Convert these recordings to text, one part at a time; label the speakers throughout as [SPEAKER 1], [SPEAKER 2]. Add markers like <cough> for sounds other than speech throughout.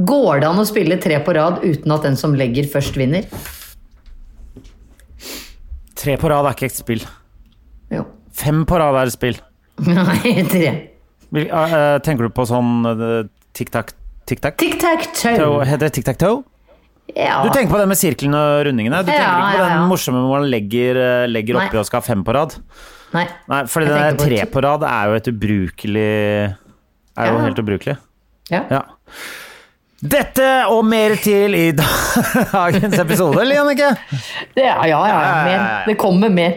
[SPEAKER 1] Går det an å spille tre på rad uten at den som legger først vinner?
[SPEAKER 2] Tre på rad er ikke et spill.
[SPEAKER 1] Jo. <laughs>
[SPEAKER 2] Fem på rad er et spill.
[SPEAKER 1] Nei, tre.
[SPEAKER 2] Vil- eh, eh, Tenker du på sånn eh, tic-tac Tic-tac?
[SPEAKER 1] Tic tac toe.
[SPEAKER 2] Toe- Heter det tic-tac-toe?
[SPEAKER 1] Ja.
[SPEAKER 2] Du tenker på det med sirkelen og rundingene? Du tenker
[SPEAKER 1] Ja,
[SPEAKER 2] ikke på
[SPEAKER 1] ja,
[SPEAKER 2] den
[SPEAKER 1] ja.
[SPEAKER 2] morsomme hvor man legger, eh, legger oppi
[SPEAKER 1] Nei.
[SPEAKER 2] og skal ha fem på rad?
[SPEAKER 1] Nei.
[SPEAKER 2] Nei, for
[SPEAKER 1] Jeg
[SPEAKER 2] det der
[SPEAKER 1] tenker på
[SPEAKER 2] tre
[SPEAKER 1] ti.
[SPEAKER 2] på rad er jo et ubrukelig Er jo
[SPEAKER 1] Ja.
[SPEAKER 2] helt ubrukelig.
[SPEAKER 1] Ja.
[SPEAKER 2] Ja. Dette og mer til i <laughs> da- dagens episode, eller Jannicke?
[SPEAKER 1] Det, ja, ja, ja.
[SPEAKER 2] ja, ja,
[SPEAKER 1] Mer.
[SPEAKER 2] ja.
[SPEAKER 1] Det kommer mer.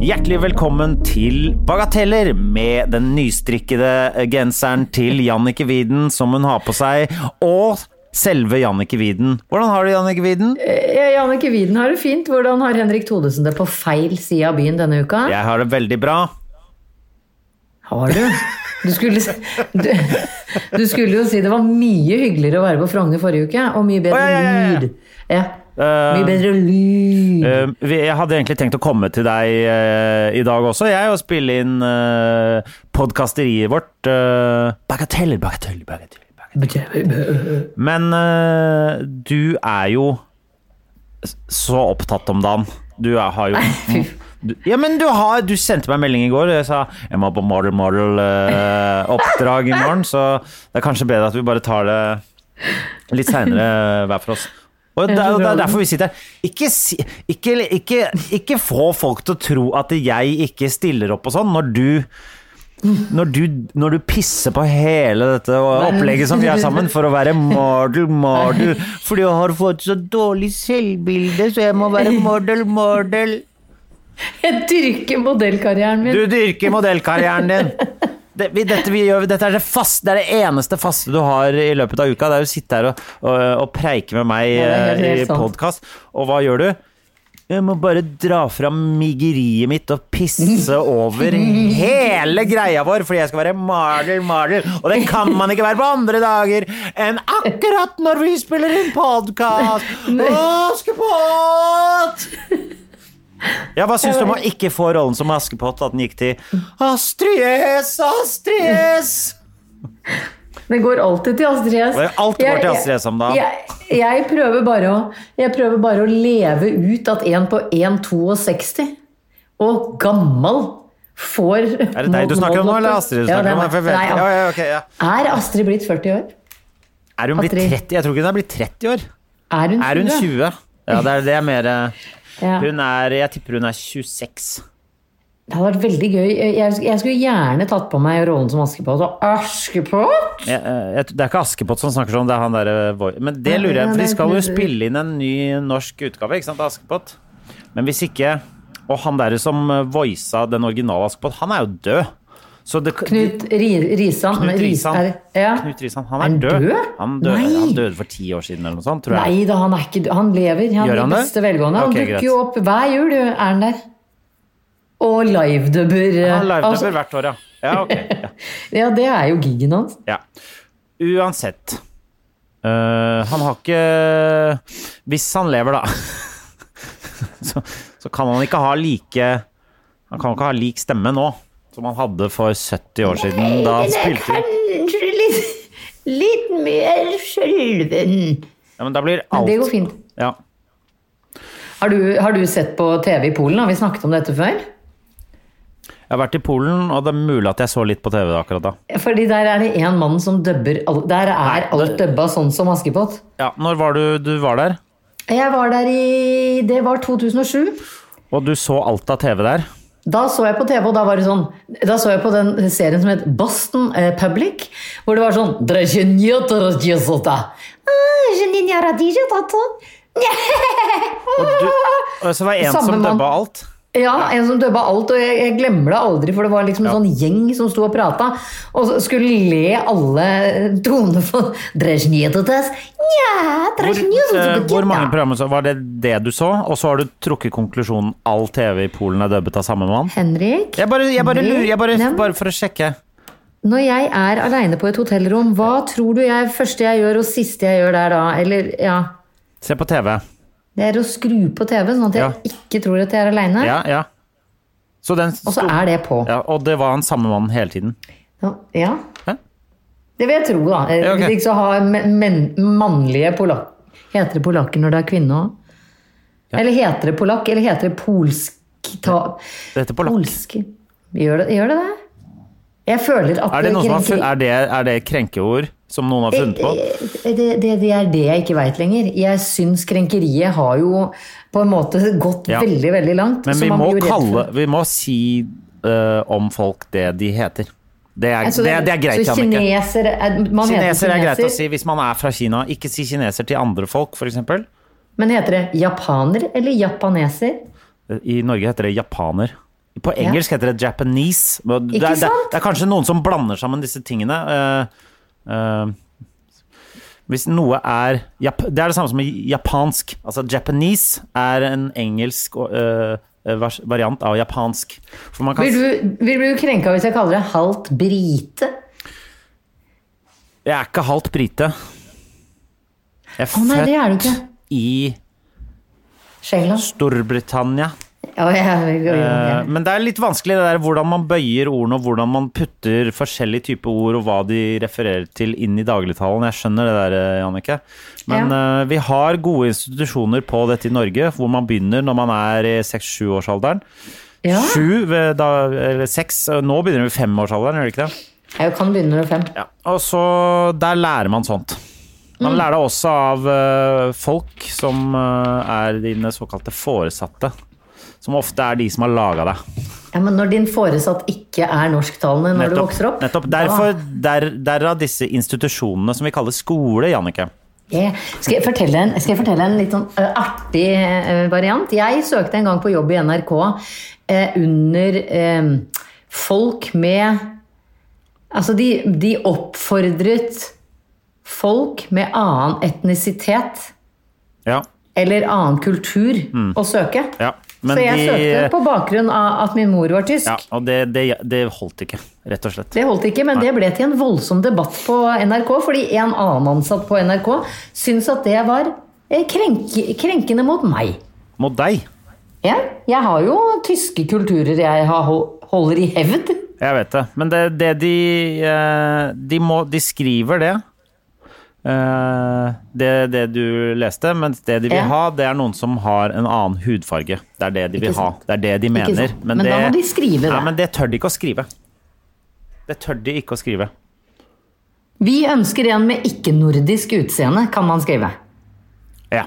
[SPEAKER 2] Hjertelig velkommen til Bagateller med den nystrikkede genseren til Jannicke Wieden som hun har på seg, og selve Jannicke Wieden. Hvordan har du det, Jannicke Wieden?
[SPEAKER 1] Eh, Jannicke Wieden har det fint. Hvordan har Henrik Thodesen det på feil side av byen denne uka?
[SPEAKER 2] Jeg har det veldig bra.
[SPEAKER 1] Har du? Du skulle, du, du skulle jo si det var mye hyggeligere å være på Frogner forrige uke, og mye bedre
[SPEAKER 2] Å, ja, ja, ja, ja.
[SPEAKER 1] lyd. Ja.
[SPEAKER 2] Eh,
[SPEAKER 1] Mye bedre lyd.
[SPEAKER 2] Eh, vi- Jeg hadde egentlig tenkt å komme til deg eh, i dag også, jeg, og spille inn uh, podkasteriet vårt. eh, bagateller, bagateller, bagateller. bagateller.
[SPEAKER 1] <laughs>
[SPEAKER 2] Men eh, du er jo s- så opptatt om dagen. Du er, har jo du, ja, men du, har, du sendte meg en melding i går, og jeg sa jeg må på model model eh, oppdrag i morgen, så det er kanskje bedre at vi bare tar det litt seinere hver for oss. Og det er, jo- det er derfor vi sitter her. Ikke, si- ikke, ikke, ikke få folk til å tro at jeg ikke stiller opp og sånn, når du når du, når du pisser på hele dette opplegget som vi er sammen for å være model, model Fordi jeg har fått så dårlig selvbilde, så jeg må være model, model.
[SPEAKER 1] Jeg dyrker modellkarrieren min.
[SPEAKER 2] Du dyrker
[SPEAKER 1] <laughs>
[SPEAKER 2] modellkarrieren din. Det, vi, dette, vi gjør, dette er det, fast, det er det eneste faste du har i løpet av uka. Det er å sitte her og, og, og preike med meg
[SPEAKER 1] Ja, det er helt-
[SPEAKER 2] eh, i
[SPEAKER 1] helt sant.
[SPEAKER 2] podkast. Og hva gjør du? Jeg må bare dra fram migeriet mitt og pisse over hele greia vår, fordi jeg skal være maler, maler. Og det kan man ikke være på andre dager enn akkurat når vi spiller inn podkast! Askepott! Ja, Hva syns du om å ikke få rollen som Askepott? At den gikk til Astrid S, Astrid S!
[SPEAKER 1] Mm. Den går alltid til Astrid S.
[SPEAKER 2] Det er alltid går til
[SPEAKER 1] Jeg-
[SPEAKER 2] Astrid S om dagen.
[SPEAKER 1] Jeg, jeg, prøver bare å, jeg prøver bare å leve ut at en på 1,62 og gammel får
[SPEAKER 2] Er det deg du snakker om nå, eller Astrid? du
[SPEAKER 1] Ja, det
[SPEAKER 2] snakker
[SPEAKER 1] er
[SPEAKER 2] om?
[SPEAKER 1] meg.
[SPEAKER 2] For jeg vet-
[SPEAKER 1] Nei,
[SPEAKER 2] ja, ja, ok, ja.
[SPEAKER 1] Er Astrid blitt 40 år?
[SPEAKER 2] Er hun blitt
[SPEAKER 1] Astrid.
[SPEAKER 2] 30? Jeg tror ikke hun er blitt 30 år.
[SPEAKER 1] Er hun 20?
[SPEAKER 2] Er hun 20? Ja, det er det er mer eh,
[SPEAKER 1] Ja.
[SPEAKER 2] Hun er Jeg tipper hun er 26.
[SPEAKER 1] Det hadde vært veldig gøy. Jeg, jeg skulle gjerne tatt på meg rollen som Askepott. Og Askepott!
[SPEAKER 2] Jeg, eh, jeg, det er ikke Askepott som snakker sånn, det er han derre voi- Men det lurer jeg
[SPEAKER 1] Ja,
[SPEAKER 2] på, for de
[SPEAKER 1] det er
[SPEAKER 2] skal jo
[SPEAKER 1] Knut-
[SPEAKER 2] spille inn en ny norsk utgave, ikke sant, av Askepott? Men hvis ikke Og han derre som eh, voisa den originale Askepott, han er jo død. Så det,
[SPEAKER 1] Knut Ri, Risan.
[SPEAKER 2] Knut
[SPEAKER 1] Ris-
[SPEAKER 2] Risan.
[SPEAKER 1] er- Ja.
[SPEAKER 2] Knut Risan, han
[SPEAKER 1] Er
[SPEAKER 2] er
[SPEAKER 1] han
[SPEAKER 2] død.
[SPEAKER 1] død?
[SPEAKER 2] Han, døde,
[SPEAKER 1] Nei.
[SPEAKER 2] han døde for ti år siden eller noe sånt, tror jeg.
[SPEAKER 1] Nei da, han er ikke død. Han lever. Han
[SPEAKER 2] Gjør
[SPEAKER 1] er
[SPEAKER 2] han
[SPEAKER 1] i
[SPEAKER 2] det?
[SPEAKER 1] beste velgående. Han
[SPEAKER 2] Ok,
[SPEAKER 1] dukker
[SPEAKER 2] greit.
[SPEAKER 1] jo opp hver jul, er han der. Og livedubber. eh,
[SPEAKER 2] Han livet
[SPEAKER 1] altså-
[SPEAKER 2] altså, hvert år, ja. Ja, ok. Ja.
[SPEAKER 1] ja, det er jo gigen hans.
[SPEAKER 2] ja. Uansett. Eh, han har ikke Hvis han lever, da, <laughs> så, så kan han ikke ha like Han kan ikke ha lik stemme nå som han hadde for 70 år siden. da han spilte
[SPEAKER 1] Kanskje litt, litt mer skjelven.
[SPEAKER 2] ja, men da blir
[SPEAKER 1] Men
[SPEAKER 2] alt
[SPEAKER 1] det går fint.
[SPEAKER 2] Ja.
[SPEAKER 1] Har du, har du sett på TV i Polen? Har vi snakket om dette før?
[SPEAKER 2] Jeg har vært i Polen, og det er mulig at jeg så litt på TV akkurat da.
[SPEAKER 1] Fordi der er det én mann som dubber all- Der er alt dubba sånn som Askepott.
[SPEAKER 2] Ja, Når var du du var der?
[SPEAKER 1] Jeg var der i Det var 2007.
[SPEAKER 2] Og du så alt av TV der?
[SPEAKER 1] Da så jeg på TV, og da var det sånn Da så jeg på den serien som het Boston eh, Public, hvor det var sånn «Dere kjenner til det, Jesus, da. Ah, kjenner dere til det, da, da?»
[SPEAKER 2] Og, du, og så var det en
[SPEAKER 1] Samme
[SPEAKER 2] som
[SPEAKER 1] mann.
[SPEAKER 2] dubba alt.
[SPEAKER 1] <laughs> Ja, en som dubba alt, og jeg, jeg glemmer det aldri, for det var liksom en
[SPEAKER 2] Ja.
[SPEAKER 1] sånn gjeng som sto og prata, og så skulle le alle tonene for Dresjnjetetes. Nja,
[SPEAKER 2] Hvor, eh,
[SPEAKER 1] Dresjnjetetes.
[SPEAKER 2] hvor mange programmer så, var det det du så? Og så har du trukket konklusjonen all TV i Polen er dubbet av samme mann?
[SPEAKER 1] Henrik,
[SPEAKER 2] Jeg bare, jeg bare
[SPEAKER 1] Nei,
[SPEAKER 2] lurer, jeg bare,
[SPEAKER 1] nei.
[SPEAKER 2] bare for å sjekke.
[SPEAKER 1] når jeg er aleine på et hotellrom, hva tror du jeg første jeg gjør, og siste jeg gjør der da? Eller, ja
[SPEAKER 2] Se på TV.
[SPEAKER 1] Det er å skru på TV, sånn at jeg
[SPEAKER 2] Ja.
[SPEAKER 1] ikke tror at jeg er aleine.
[SPEAKER 2] Ja, ja. Så den
[SPEAKER 1] Og så
[SPEAKER 2] sto-
[SPEAKER 1] er det på.
[SPEAKER 2] ja, og det var han samme mannen hele tiden.
[SPEAKER 1] Ja. ja.
[SPEAKER 2] Hæ?
[SPEAKER 1] Det vil jeg tro, da.
[SPEAKER 2] Ja, ok.
[SPEAKER 1] Hvis ikke så har men, men- mannlige polakk Heter det polakker når det er kvinne òg? Eller heter det polakk, eller heter det polsk ta,
[SPEAKER 2] Det heter polakk.
[SPEAKER 1] Polsk gjør det, gjør det det? Jeg føler at
[SPEAKER 2] Er det, noen som har, fun-
[SPEAKER 1] krenker-
[SPEAKER 2] er, det, er det krenkeord som noen har funnet på?
[SPEAKER 1] Eh, Det, det, det er det jeg ikke veit lenger. Jeg syns krenkeriet har jo på en måte gått
[SPEAKER 2] Ja.
[SPEAKER 1] veldig, veldig langt.
[SPEAKER 2] Men
[SPEAKER 1] så
[SPEAKER 2] vi
[SPEAKER 1] man
[SPEAKER 2] må
[SPEAKER 1] blir jo redd for-
[SPEAKER 2] kalle Vi må si eh, om folk det de heter. Det er,
[SPEAKER 1] Altså,
[SPEAKER 2] det, det er greit,
[SPEAKER 1] så
[SPEAKER 2] Jannicke.
[SPEAKER 1] kineser, er, man
[SPEAKER 2] Kineser
[SPEAKER 1] heter
[SPEAKER 2] er greit å
[SPEAKER 1] kineser,
[SPEAKER 2] si hvis man er fra Kina. Ikke si kineser til andre folk, f.eks.
[SPEAKER 1] Men heter det japaner eller japaneser?
[SPEAKER 2] I Norge heter det japaner. På engelsk heter det japanese. men Det er, det, er,
[SPEAKER 1] sant?
[SPEAKER 2] det er kanskje noen som blander sammen disse tingene. Eh, eh, hvis noe er Jap Det er det samme som i japansk. Altså japanese er en engelsk eh, vers- variant av japansk. For man kan
[SPEAKER 1] Blir du, vil du bli krenka hvis jeg kaller deg halvt brite?
[SPEAKER 2] Jeg er ikke halvt brite. Jeg er
[SPEAKER 1] Å nei, det er du ikke.
[SPEAKER 2] født i
[SPEAKER 1] Skjengland.
[SPEAKER 2] Storbritannia.
[SPEAKER 1] Ja, jeg, jeg, jeg,
[SPEAKER 2] Eh,
[SPEAKER 1] jeg.
[SPEAKER 2] Men det er litt vanskelig det der hvordan man bøyer ordene, og hvordan man putter forskjellige typer ord og hva de refererer til inn i dagligtalen. Jeg skjønner det der, eh, Jannicke. Men eh, vi har gode institusjoner på dette i Norge, hvor man begynner når man er i 6-7-årsalderen.
[SPEAKER 1] Ja.
[SPEAKER 2] Eh, Sju, ved da, eller seks, eh, nå begynner vi i femårsalderen, gjør det ikke det?
[SPEAKER 1] jeg kan begynne når du er fem.
[SPEAKER 2] Ja, og så der lærer man sånt. Man lærer det også av eh, folk som eh, er dine såkalte foresatte. Som ofte er de som har laga deg.
[SPEAKER 1] Ja, men når din foresatt ikke er norsktalende når du vokser opp Ah.
[SPEAKER 2] nettopp.
[SPEAKER 1] da-
[SPEAKER 2] Derfor, der, derav disse institusjonene som vi kaller skole, Jannicke.
[SPEAKER 1] Jeg- Skal jeg fortelle en, skal jeg fortelle en litt sånn ø, artig ø, variant? Jeg søkte en gang på jobb i NRK eh, under eh, folk med Altså, de, de oppfordret folk med annen etnisitet
[SPEAKER 2] Ja,
[SPEAKER 1] eller annen kultur å søke.
[SPEAKER 2] Mm. ja. Men
[SPEAKER 1] Så jeg
[SPEAKER 2] de-
[SPEAKER 1] søkte på bakgrunn av at min mor var tysk.
[SPEAKER 2] ja, og det, det, det holdt ikke, rett og slett.
[SPEAKER 1] Det holdt ikke, men det ble til en voldsom debatt på NRK, fordi en annen ansatt på NRK syntes at det var eh, krenk, krenkende mot meg.
[SPEAKER 2] Mot deg.
[SPEAKER 1] Ja, jeg har jo tyske kulturer jeg har, hol- holder i hevd.
[SPEAKER 2] Jeg vet det. Men det, det de eh, de, må, de skriver det. eh, Det, det du leste, mens det de vil
[SPEAKER 1] Ja.
[SPEAKER 2] ha, det er noen som har en annen hudfarge. Det er det de vil
[SPEAKER 1] Ikke
[SPEAKER 2] ha.
[SPEAKER 1] sant.
[SPEAKER 2] Det er det de
[SPEAKER 1] Ikke
[SPEAKER 2] mener.
[SPEAKER 1] sant. Men da må de skrive det.
[SPEAKER 2] Nei, men det tør de ikke å skrive. Det tør de ikke å skrive.
[SPEAKER 1] Vi ønsker en med ikke-nordisk utseende, kan man skrive.
[SPEAKER 2] Ja.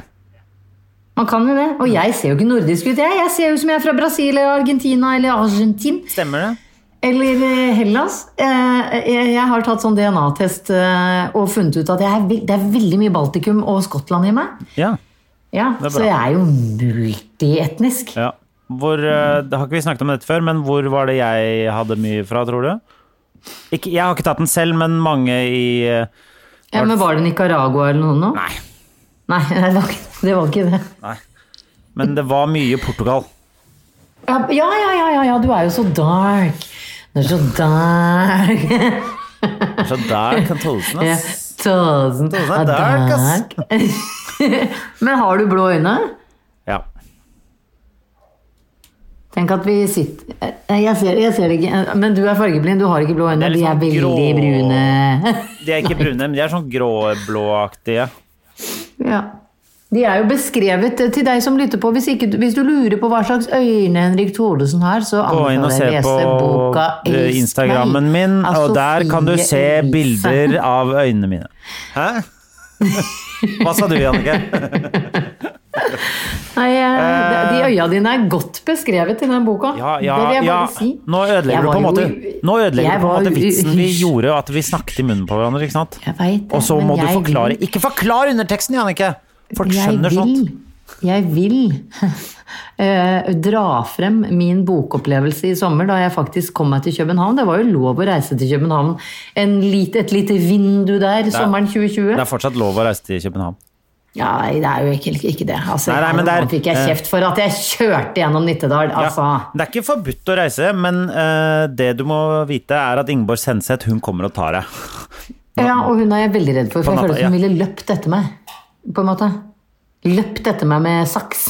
[SPEAKER 1] Man kan jo det. Og jeg ser jo ikke nordisk ut, jeg. Jeg ser jo ut som jeg er fra Brasil eller Argentina eller Argentin.
[SPEAKER 2] Stemmer det?
[SPEAKER 1] Eller eh, Hellas. Eh, Jeg jeg har tatt sånn DNA-test eh, og funnet ut at jeg er, vel- det er veldig mye Baltikum og Skottland i meg.
[SPEAKER 2] Ja.
[SPEAKER 1] Ja,
[SPEAKER 2] er bra.
[SPEAKER 1] Så jeg er jo multietnisk.
[SPEAKER 2] ja. Hvor, eh, det har ikke vi snakket om dette før, men hvor var det jeg hadde mye fra, tror du? Ikke, jeg har ikke tatt den selv, men mange i eh,
[SPEAKER 1] Ja, men Var det Nicaragua eller noe nå?
[SPEAKER 2] Nei.
[SPEAKER 1] Nei, <laughs> det var ikke det. Var ikke det.
[SPEAKER 2] Men det var mye i Portugal.
[SPEAKER 1] Ja, ja, ja, ja, ja, ja, du er jo så dark. Du er så dark. <laughs>
[SPEAKER 2] Så der kan Tolsen,
[SPEAKER 1] Ja,
[SPEAKER 2] ass.
[SPEAKER 1] Tusen
[SPEAKER 2] er dark, ass.
[SPEAKER 1] <laughs> Men har du blå øyne?
[SPEAKER 2] Ja.
[SPEAKER 1] Tenk at vi sitter Eh, Jeg ser, jeg ser det ikke, eh, men du er fargeblind. Du har ikke blå øyne.
[SPEAKER 2] Det er
[SPEAKER 1] De
[SPEAKER 2] litt
[SPEAKER 1] er
[SPEAKER 2] sånn
[SPEAKER 1] veldig
[SPEAKER 2] grå-
[SPEAKER 1] brune. <laughs>
[SPEAKER 2] De er ikke brune, men de er sånn gråblåaktige.
[SPEAKER 1] ja. De er jo beskrevet eh, til deg som lytter på. Hvis, ikke, du- hvis du lurer på hva slags øyne Henrik Thodesen har, så
[SPEAKER 2] Gå inn og se
[SPEAKER 1] anbefaler jeg å
[SPEAKER 2] på
[SPEAKER 1] lese boka
[SPEAKER 2] eh,
[SPEAKER 1] Elsk
[SPEAKER 2] Instagrammen
[SPEAKER 1] meg altså,
[SPEAKER 2] min,
[SPEAKER 1] av
[SPEAKER 2] og der kan du
[SPEAKER 1] Sofie
[SPEAKER 2] se
[SPEAKER 1] Elise.
[SPEAKER 2] bilder av øynene mine. Hæ? Hva sa du, Jannicke?
[SPEAKER 1] <laughs> Nei, eh, de de øya dine er godt beskrevet i den boka.
[SPEAKER 2] Ja, ja,
[SPEAKER 1] det vil jeg
[SPEAKER 2] ja.
[SPEAKER 1] bare si.
[SPEAKER 2] Nå
[SPEAKER 1] Jeg
[SPEAKER 2] ødelegger du på en
[SPEAKER 1] var
[SPEAKER 2] måte
[SPEAKER 1] jo-
[SPEAKER 2] Nå ødelegger
[SPEAKER 1] jeg
[SPEAKER 2] du på en
[SPEAKER 1] var
[SPEAKER 2] måte
[SPEAKER 1] jo-
[SPEAKER 2] vitsen
[SPEAKER 1] <laughs>
[SPEAKER 2] vi gjorde, og at vi snakket i munnen på hverandre, ikke sant?
[SPEAKER 1] Jeg vet det,
[SPEAKER 2] Og så
[SPEAKER 1] men
[SPEAKER 2] må du
[SPEAKER 1] jeg
[SPEAKER 2] forklare
[SPEAKER 1] vil-
[SPEAKER 2] Ikke forklar underteksten, Jannicke! Folk skjønner
[SPEAKER 1] jeg vil
[SPEAKER 2] sånt.
[SPEAKER 1] Jeg vil <laughs> eh, dra frem min bokopplevelse i sommer, da jeg faktisk kom meg til København. Det var jo lov å reise til København. En lite, et lite vindu der sommeren 2020.
[SPEAKER 2] Det er fortsatt lov å reise til København.
[SPEAKER 1] Nei, det er jo ikke, ikke det. Altså,
[SPEAKER 2] Nei, nei, men det er- eh,
[SPEAKER 1] nå fikk jeg kjeft for at jeg kjørte gjennom Nittedal. Altså.
[SPEAKER 2] Ja, det er ikke forbudt å reise, men eh, det du må vite, er at Ingeborg Senseth hun kommer og tar deg.
[SPEAKER 1] Ja. og hun er jeg veldig redd for, for jeg
[SPEAKER 2] På natta,
[SPEAKER 1] føler at hun ville løpt etter meg. På en måte. Løpt etter meg med saks.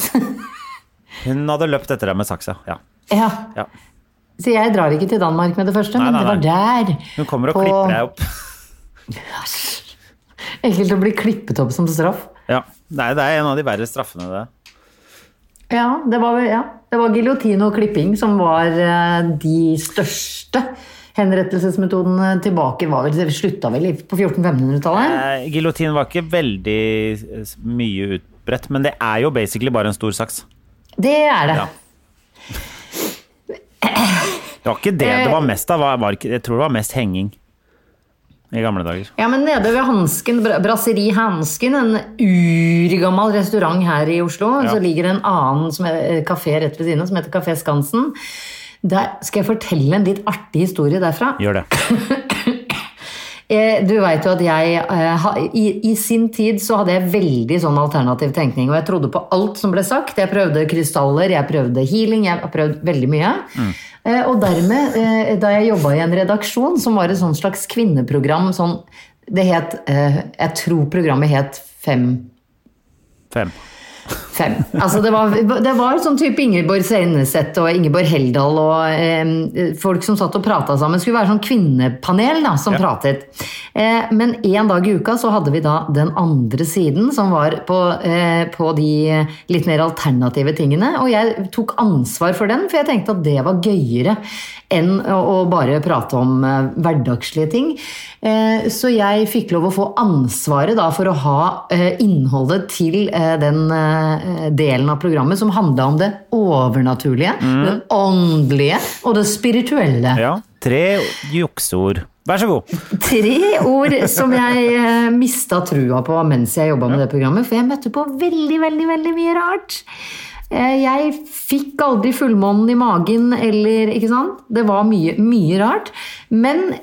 [SPEAKER 1] <laughs>
[SPEAKER 2] Hun hadde løpt etter deg med saksa. Ja.
[SPEAKER 1] ja.
[SPEAKER 2] Ja.
[SPEAKER 1] Så jeg drar ikke til Danmark med det første,
[SPEAKER 2] Nei,
[SPEAKER 1] men
[SPEAKER 2] nei,
[SPEAKER 1] det var der.
[SPEAKER 2] Hun kommer og
[SPEAKER 1] på-
[SPEAKER 2] klipper deg opp.
[SPEAKER 1] Ekkelt å bli klippet opp som straff.
[SPEAKER 2] Ja. Nei, det er en av de verre straffene, det.
[SPEAKER 1] Ja, det var, vel- ja. Det var giljotin og klipping som var eh, de største henrettelsesmetodene tilbake. Var vel, det slutta vel i- på 1400-1500-tallet?
[SPEAKER 2] Eh, Giljotin var ikke veldig eh, mye utbredt, men det er jo basically bare en stor saks.
[SPEAKER 1] Det er det.
[SPEAKER 2] Ja. Det var ikke det det var mest av. var- var ikke- Jeg tror det var mest henging i gamle dager.
[SPEAKER 1] Ja, men nede ved Hansken, Bra- Brasseri Hansken, en urgammel restaurant her i Oslo, så ligger det en annen som er, kafé rett ved siden av, som heter Kafé Skansen. Der skal jeg fortelle en litt artig historie derfra.
[SPEAKER 2] Gjør det.
[SPEAKER 1] Eh, Du vet jo at jeg eh, ha- i, I sin tid så hadde jeg veldig sånn alternativ tenkning, og jeg trodde på alt som ble sagt. Jeg prøvde krystaller, jeg prøvde healing, jeg har prøvd veldig mye. Eh, Og dermed, eh, da jeg jobba i en redaksjon som var et sånn slags kvinneprogram sånn, Det het eh, Jeg tror programmet het Fem
[SPEAKER 2] Fem.
[SPEAKER 1] Fem. Altså det, var, det var sånn type Ingeborg Seineseth og Ingeborg Heldal og eh, folk som satt og prata sammen. Det skulle være sånn kvinnepanel da, som pratet. Eh, men en dag i uka så hadde vi da den andre siden, som var på, eh, på de litt mer alternative tingene. Og jeg tok ansvar for den, for jeg tenkte at det var gøyere enn å, å bare prate om eh, hverdagslige ting. Eh, så jeg fikk lov å få ansvaret da for å ha eh, innholdet til eh, den eh, delen av programmet som handla om det overnaturlige, det åndelige og det spirituelle.
[SPEAKER 2] Ja. Tre jukseord. Vær så god.
[SPEAKER 1] Tre ord som jeg eh, mista trua på mens jeg jobba med det programmet, for jeg møtte på veldig, veldig, veldig mye rart. Eh, Jeg fikk aldri fullmånen i magen eller Ikke sant? Det var mye, mye rart. Men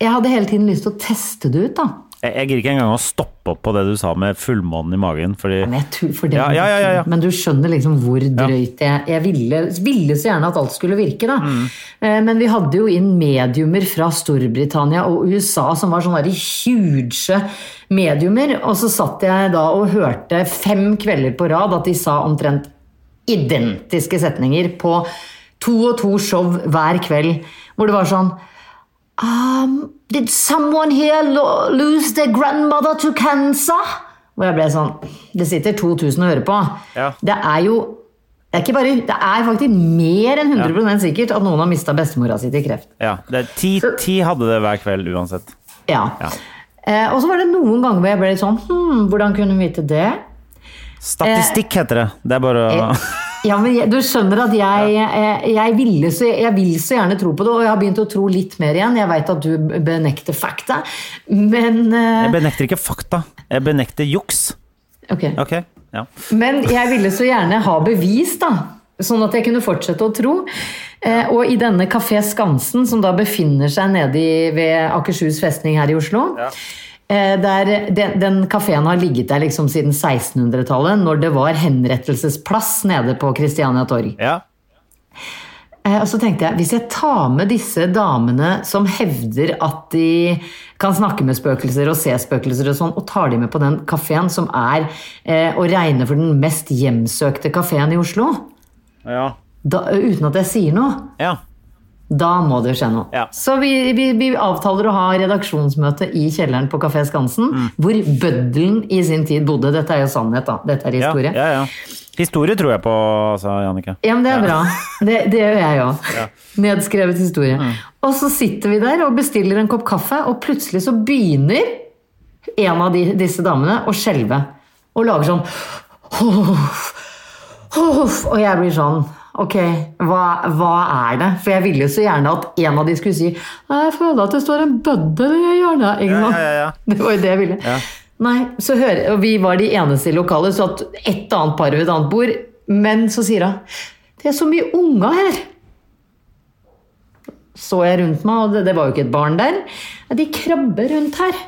[SPEAKER 1] jeg hadde hele tiden lyst til å teste det ut, da.
[SPEAKER 2] Jeg, jeg gir ikke engang å stoppe opp på det du sa med fullmånen i magen, fordi
[SPEAKER 1] Men, jeg tror, for det,
[SPEAKER 2] Ja, ja, ja, ja, ja.
[SPEAKER 1] men du skjønner liksom hvor drøyt jeg, jeg ville, ville så gjerne at alt skulle virke. Da.
[SPEAKER 2] Mm.
[SPEAKER 1] Eh, Men vi hadde jo inn mediumer fra Storbritannia og USA som var sånne der huge mediumer. Og så satt jeg da og hørte fem kvelder på rad at de sa omtrent identiske setninger på to og to show hver kveld, hvor det var sånn um, Did someone here lo lose their grandmother to cancer? Hvor jeg ble sånn Det sitter 2000 å høre på.
[SPEAKER 2] Ja.
[SPEAKER 1] Det er jo det er, ikke bare, det er faktisk mer enn 100 sikkert at noen har mista bestemora si til kreft.
[SPEAKER 2] Ja, det er ti, ti hadde det hver kveld uansett.
[SPEAKER 1] Ja.
[SPEAKER 2] Ja.
[SPEAKER 1] Eh, og så var det noen ganger hvor jeg ble litt sånn Hm, hvordan kunne hun vite det?
[SPEAKER 2] Statistikk heter det. Det er bare å
[SPEAKER 1] Ja, men jeg, Du skjønner at jeg, eh, jeg, ville så, jeg vil så gjerne tro på det, og jeg har begynt å tro litt mer igjen. Jeg veit at du benekter fakta, men eh,
[SPEAKER 2] Jeg benekter ikke fakta. Jeg benekter juks.
[SPEAKER 1] ok.
[SPEAKER 2] Ok? Ja.
[SPEAKER 1] Men jeg ville så gjerne ha bevis, da. Sånn at jeg kunne fortsette å tro. Eh, og i denne Kafé Skansen, som da befinner seg nede i, ved Akershus festning her i Oslo eh, der, den, den kafeen har ligget der liksom siden 1600-tallet, når det var henrettelsesplass nede på Christiania torg.
[SPEAKER 2] ja.
[SPEAKER 1] Eh, Og så tenkte jeg, hvis jeg tar med disse damene som hevder at de kan snakke med spøkelser og se spøkelser og sånn, og tar de med på den kafeen som er eh, å regne for den mest hjemsøkte kafeen i Oslo,
[SPEAKER 2] Ja.
[SPEAKER 1] da, uten at jeg sier noe,
[SPEAKER 2] ja.
[SPEAKER 1] da må det jo skje noe.
[SPEAKER 2] Ja.
[SPEAKER 1] Så vi, vi, vi avtaler å ha redaksjonsmøte i kjelleren på Kafé Skansen,
[SPEAKER 2] Mm.
[SPEAKER 1] hvor bøddelen i sin tid bodde. Dette er jo sannhet, da. Dette er
[SPEAKER 2] Ja,
[SPEAKER 1] historie.
[SPEAKER 2] ja, ja. Historie tror jeg på, sa Jannicke.
[SPEAKER 1] Ja, men det er bra. Det, det gjør jeg òg. Nedskrevet historie. Og så sitter vi der og bestiller en kopp kaffe, og plutselig så begynner en av de, disse damene å skjelve. Og lager sånn «Huff, huff», Og jeg blir sånn Ok, hva, hva er det? For jeg ville jo så gjerne at en av de skulle si «Nei, Jeg føler at <laughs> det står en bøddel i hjørnet. Ikke
[SPEAKER 2] Ja,
[SPEAKER 1] sant?
[SPEAKER 2] ja, ja, ja.
[SPEAKER 1] Det var jo det jeg ville. Nei, så hører, og vi var de eneste i lokalet, så at et annet par ved et annet bord. Men så sier hun Det er så mye unger her. Så jeg rundt meg, og det, det var jo ikke et barn der. «Ja, De krabber rundt her.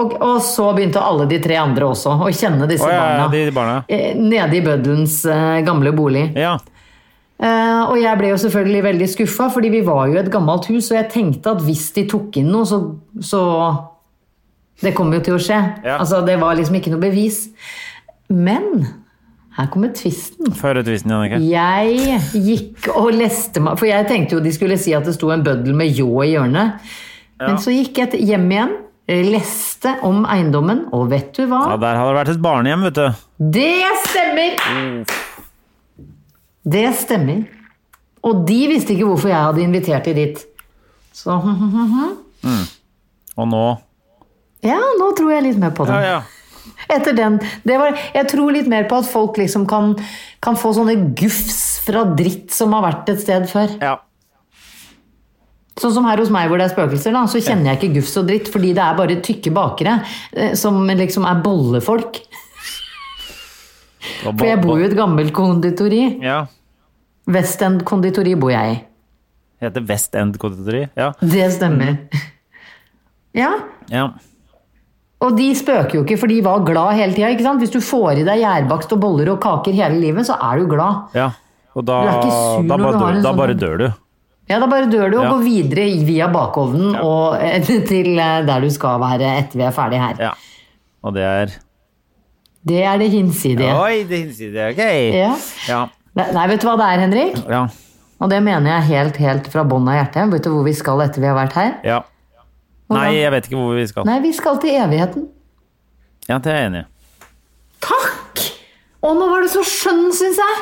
[SPEAKER 1] Og, og så begynte alle de tre andre også å kjenne disse
[SPEAKER 2] Å, ja, ja,
[SPEAKER 1] barna.
[SPEAKER 2] de- de barna.
[SPEAKER 1] Eh, Nede i bøddelens eh, gamle bolig.
[SPEAKER 2] Ja.
[SPEAKER 1] Eh, og jeg ble jo selvfølgelig veldig skuffa, fordi vi var jo et gammelt hus, og jeg tenkte at hvis de tok inn noe, så, så Det kom jo til å skje.
[SPEAKER 2] Ja.
[SPEAKER 1] Altså, det var liksom ikke noe bevis. Men her kommer tvisten.
[SPEAKER 2] Få høre tvisten, Jannicke.
[SPEAKER 1] Jeg gikk og leste meg For jeg tenkte jo de skulle si at det sto en bøddel med ljå i hjørnet. Men så gikk jeg til- hjem igjen, eh, leste om eiendommen, og vet du hva?
[SPEAKER 2] Ja, der har det vært et barnehjem, vet du.
[SPEAKER 1] Det stemmer! Det stemmer. Og de visste ikke hvorfor jeg hadde invitert de dit. Så <laughs>
[SPEAKER 2] Og nå
[SPEAKER 1] ja, nå tror jeg litt mer på det.
[SPEAKER 2] Ja, ja.
[SPEAKER 1] Etter den. Det var, jeg tror litt mer på at folk liksom kan, kan få sånne gufs fra dritt som har vært et sted før.
[SPEAKER 2] ja.
[SPEAKER 1] Sånn som her hos meg hvor det er spøkelser, da, så kjenner jeg ikke gufs og dritt, fordi det er bare tykke bakere eh, som liksom er bollefolk.
[SPEAKER 2] Og
[SPEAKER 1] For jeg bor jo i et gammelt konditori.
[SPEAKER 2] Ja.
[SPEAKER 1] West End konditori bor jeg i.
[SPEAKER 2] Det heter West End konditori. Ja.
[SPEAKER 1] Det stemmer.
[SPEAKER 2] Mm.
[SPEAKER 1] Ja,
[SPEAKER 2] ja.
[SPEAKER 1] og de spøker jo ikke, for de var glad hele tida. ikke sant? Hvis du får i deg gjærbakst og boller og kaker hele livet, så er du glad.
[SPEAKER 2] ja. Og da,
[SPEAKER 1] Du er ikke sur
[SPEAKER 2] da,
[SPEAKER 1] når du
[SPEAKER 2] bare
[SPEAKER 1] har
[SPEAKER 2] dør,
[SPEAKER 1] en
[SPEAKER 2] da
[SPEAKER 1] sånn-
[SPEAKER 2] bare dør du.
[SPEAKER 1] Ja, da bare dør du og
[SPEAKER 2] Ja.
[SPEAKER 1] går videre i- via bakovnen og eh, <laughs> til eh, der du skal være etter vi er ferdig her.
[SPEAKER 2] Ja. Og det er
[SPEAKER 1] Det er det hinsidige.
[SPEAKER 2] Oi, det hinsider jeg. Ok.
[SPEAKER 1] Ja.
[SPEAKER 2] Ja.
[SPEAKER 1] Nei, nei, vet du hva det er, Henrik?
[SPEAKER 2] Ja.
[SPEAKER 1] Og det mener jeg helt, helt fra bånn av hjertet. Vet du hvor vi skal etter vi har vært her?
[SPEAKER 2] ja. Nei, jeg vet ikke hvor vi skal.
[SPEAKER 1] Nei, vi skal til evigheten.
[SPEAKER 2] Ja, det er jeg enig i.
[SPEAKER 1] Takk! Å, nå var du så skjønn, syns jeg!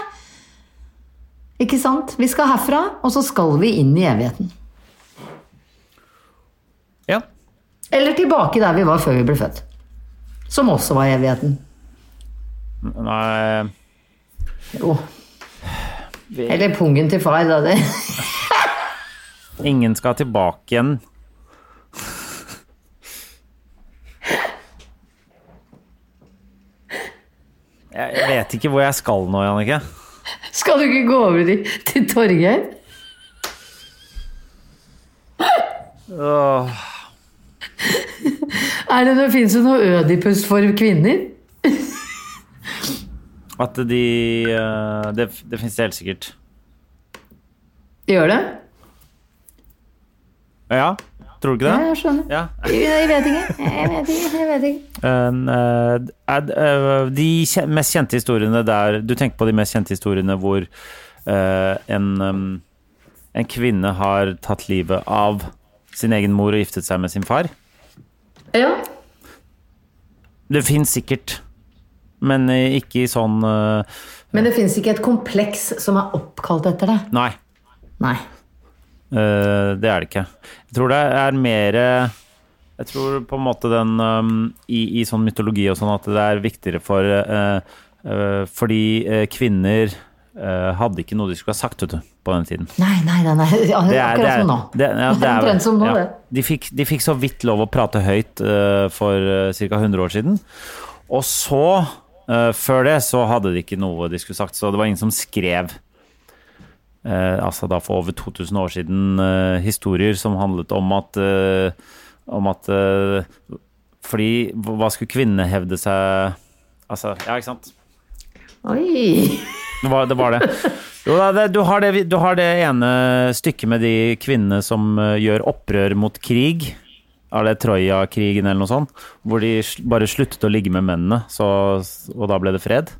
[SPEAKER 1] Ikke sant? Vi skal herfra, og så skal vi inn i evigheten.
[SPEAKER 2] Ja.
[SPEAKER 1] Eller tilbake der vi var før vi ble født. Som også var evigheten.
[SPEAKER 2] Nei
[SPEAKER 1] Jo. Eller pungen til far, da. Det.
[SPEAKER 2] Ingen skal tilbake igjen. Jeg jeg vet ikke hvor jeg skal nå, Jannicke.
[SPEAKER 1] Skal du ikke gå over til, til Torgeir?
[SPEAKER 2] Åh,
[SPEAKER 1] Er det noe, Fins det noe Ødipus for kvinner?
[SPEAKER 2] At de eh, Det, det finnes det helt sikkert.
[SPEAKER 1] Gjør det?
[SPEAKER 2] Ja? Tror du ikke
[SPEAKER 1] Ja,
[SPEAKER 2] det?
[SPEAKER 1] jeg skjønner.
[SPEAKER 2] Ja.
[SPEAKER 1] Jeg vet ikke. Jeg vet ikke. Jeg vet ikke.
[SPEAKER 2] En, eh, er, eh, de kje- mest kjente historiene der Du tenker på de mest kjente historiene hvor eh, en, em, en kvinne har tatt livet av sin egen mor og giftet seg med sin far?
[SPEAKER 1] Ja.
[SPEAKER 2] Det fins sikkert, men eh, ikke i sånn eh,
[SPEAKER 1] Men det fins ikke et kompleks som er oppkalt etter det.
[SPEAKER 2] Nei,
[SPEAKER 1] Nei.
[SPEAKER 2] eh, det er det ikke. Jeg tror det er mer eh, Jeg tror på en måte den eh, i, I sånn mytologi og sånn at det er viktigere for eh, eh, Fordi eh, kvinner eh, hadde ikke noe de skulle ha sagt, vet du, på den tiden.
[SPEAKER 1] Nei, nei, nei. nei. Ja,
[SPEAKER 2] Det er- det
[SPEAKER 1] Akkurat
[SPEAKER 2] er-
[SPEAKER 1] som nå.
[SPEAKER 2] det- ja, det er-
[SPEAKER 1] Omtrent som nå,
[SPEAKER 2] ja.
[SPEAKER 1] det.
[SPEAKER 2] De fikk, de fikk så vidt lov å prate høyt eh, for uh, ca. 100 år siden. Og så, eh, før det, så hadde de ikke noe de skulle sagt, så det var ingen som skrev. eh, altså da for over 2000 år siden eh, historier som handlet om at eh, Om at eh, Fordi hva skulle kvinnene hevde seg Altså, ja, ikke sant?
[SPEAKER 1] Oi! <laughs>
[SPEAKER 2] Det var det. Var det. Jo, da, det, du, har det du har det ene stykket med de kvinnene som eh, gjør opprør mot krig. Er det Troja-krigen eller noe sånt? Hvor de sl- bare sluttet å ligge med mennene, så, og da ble det fred?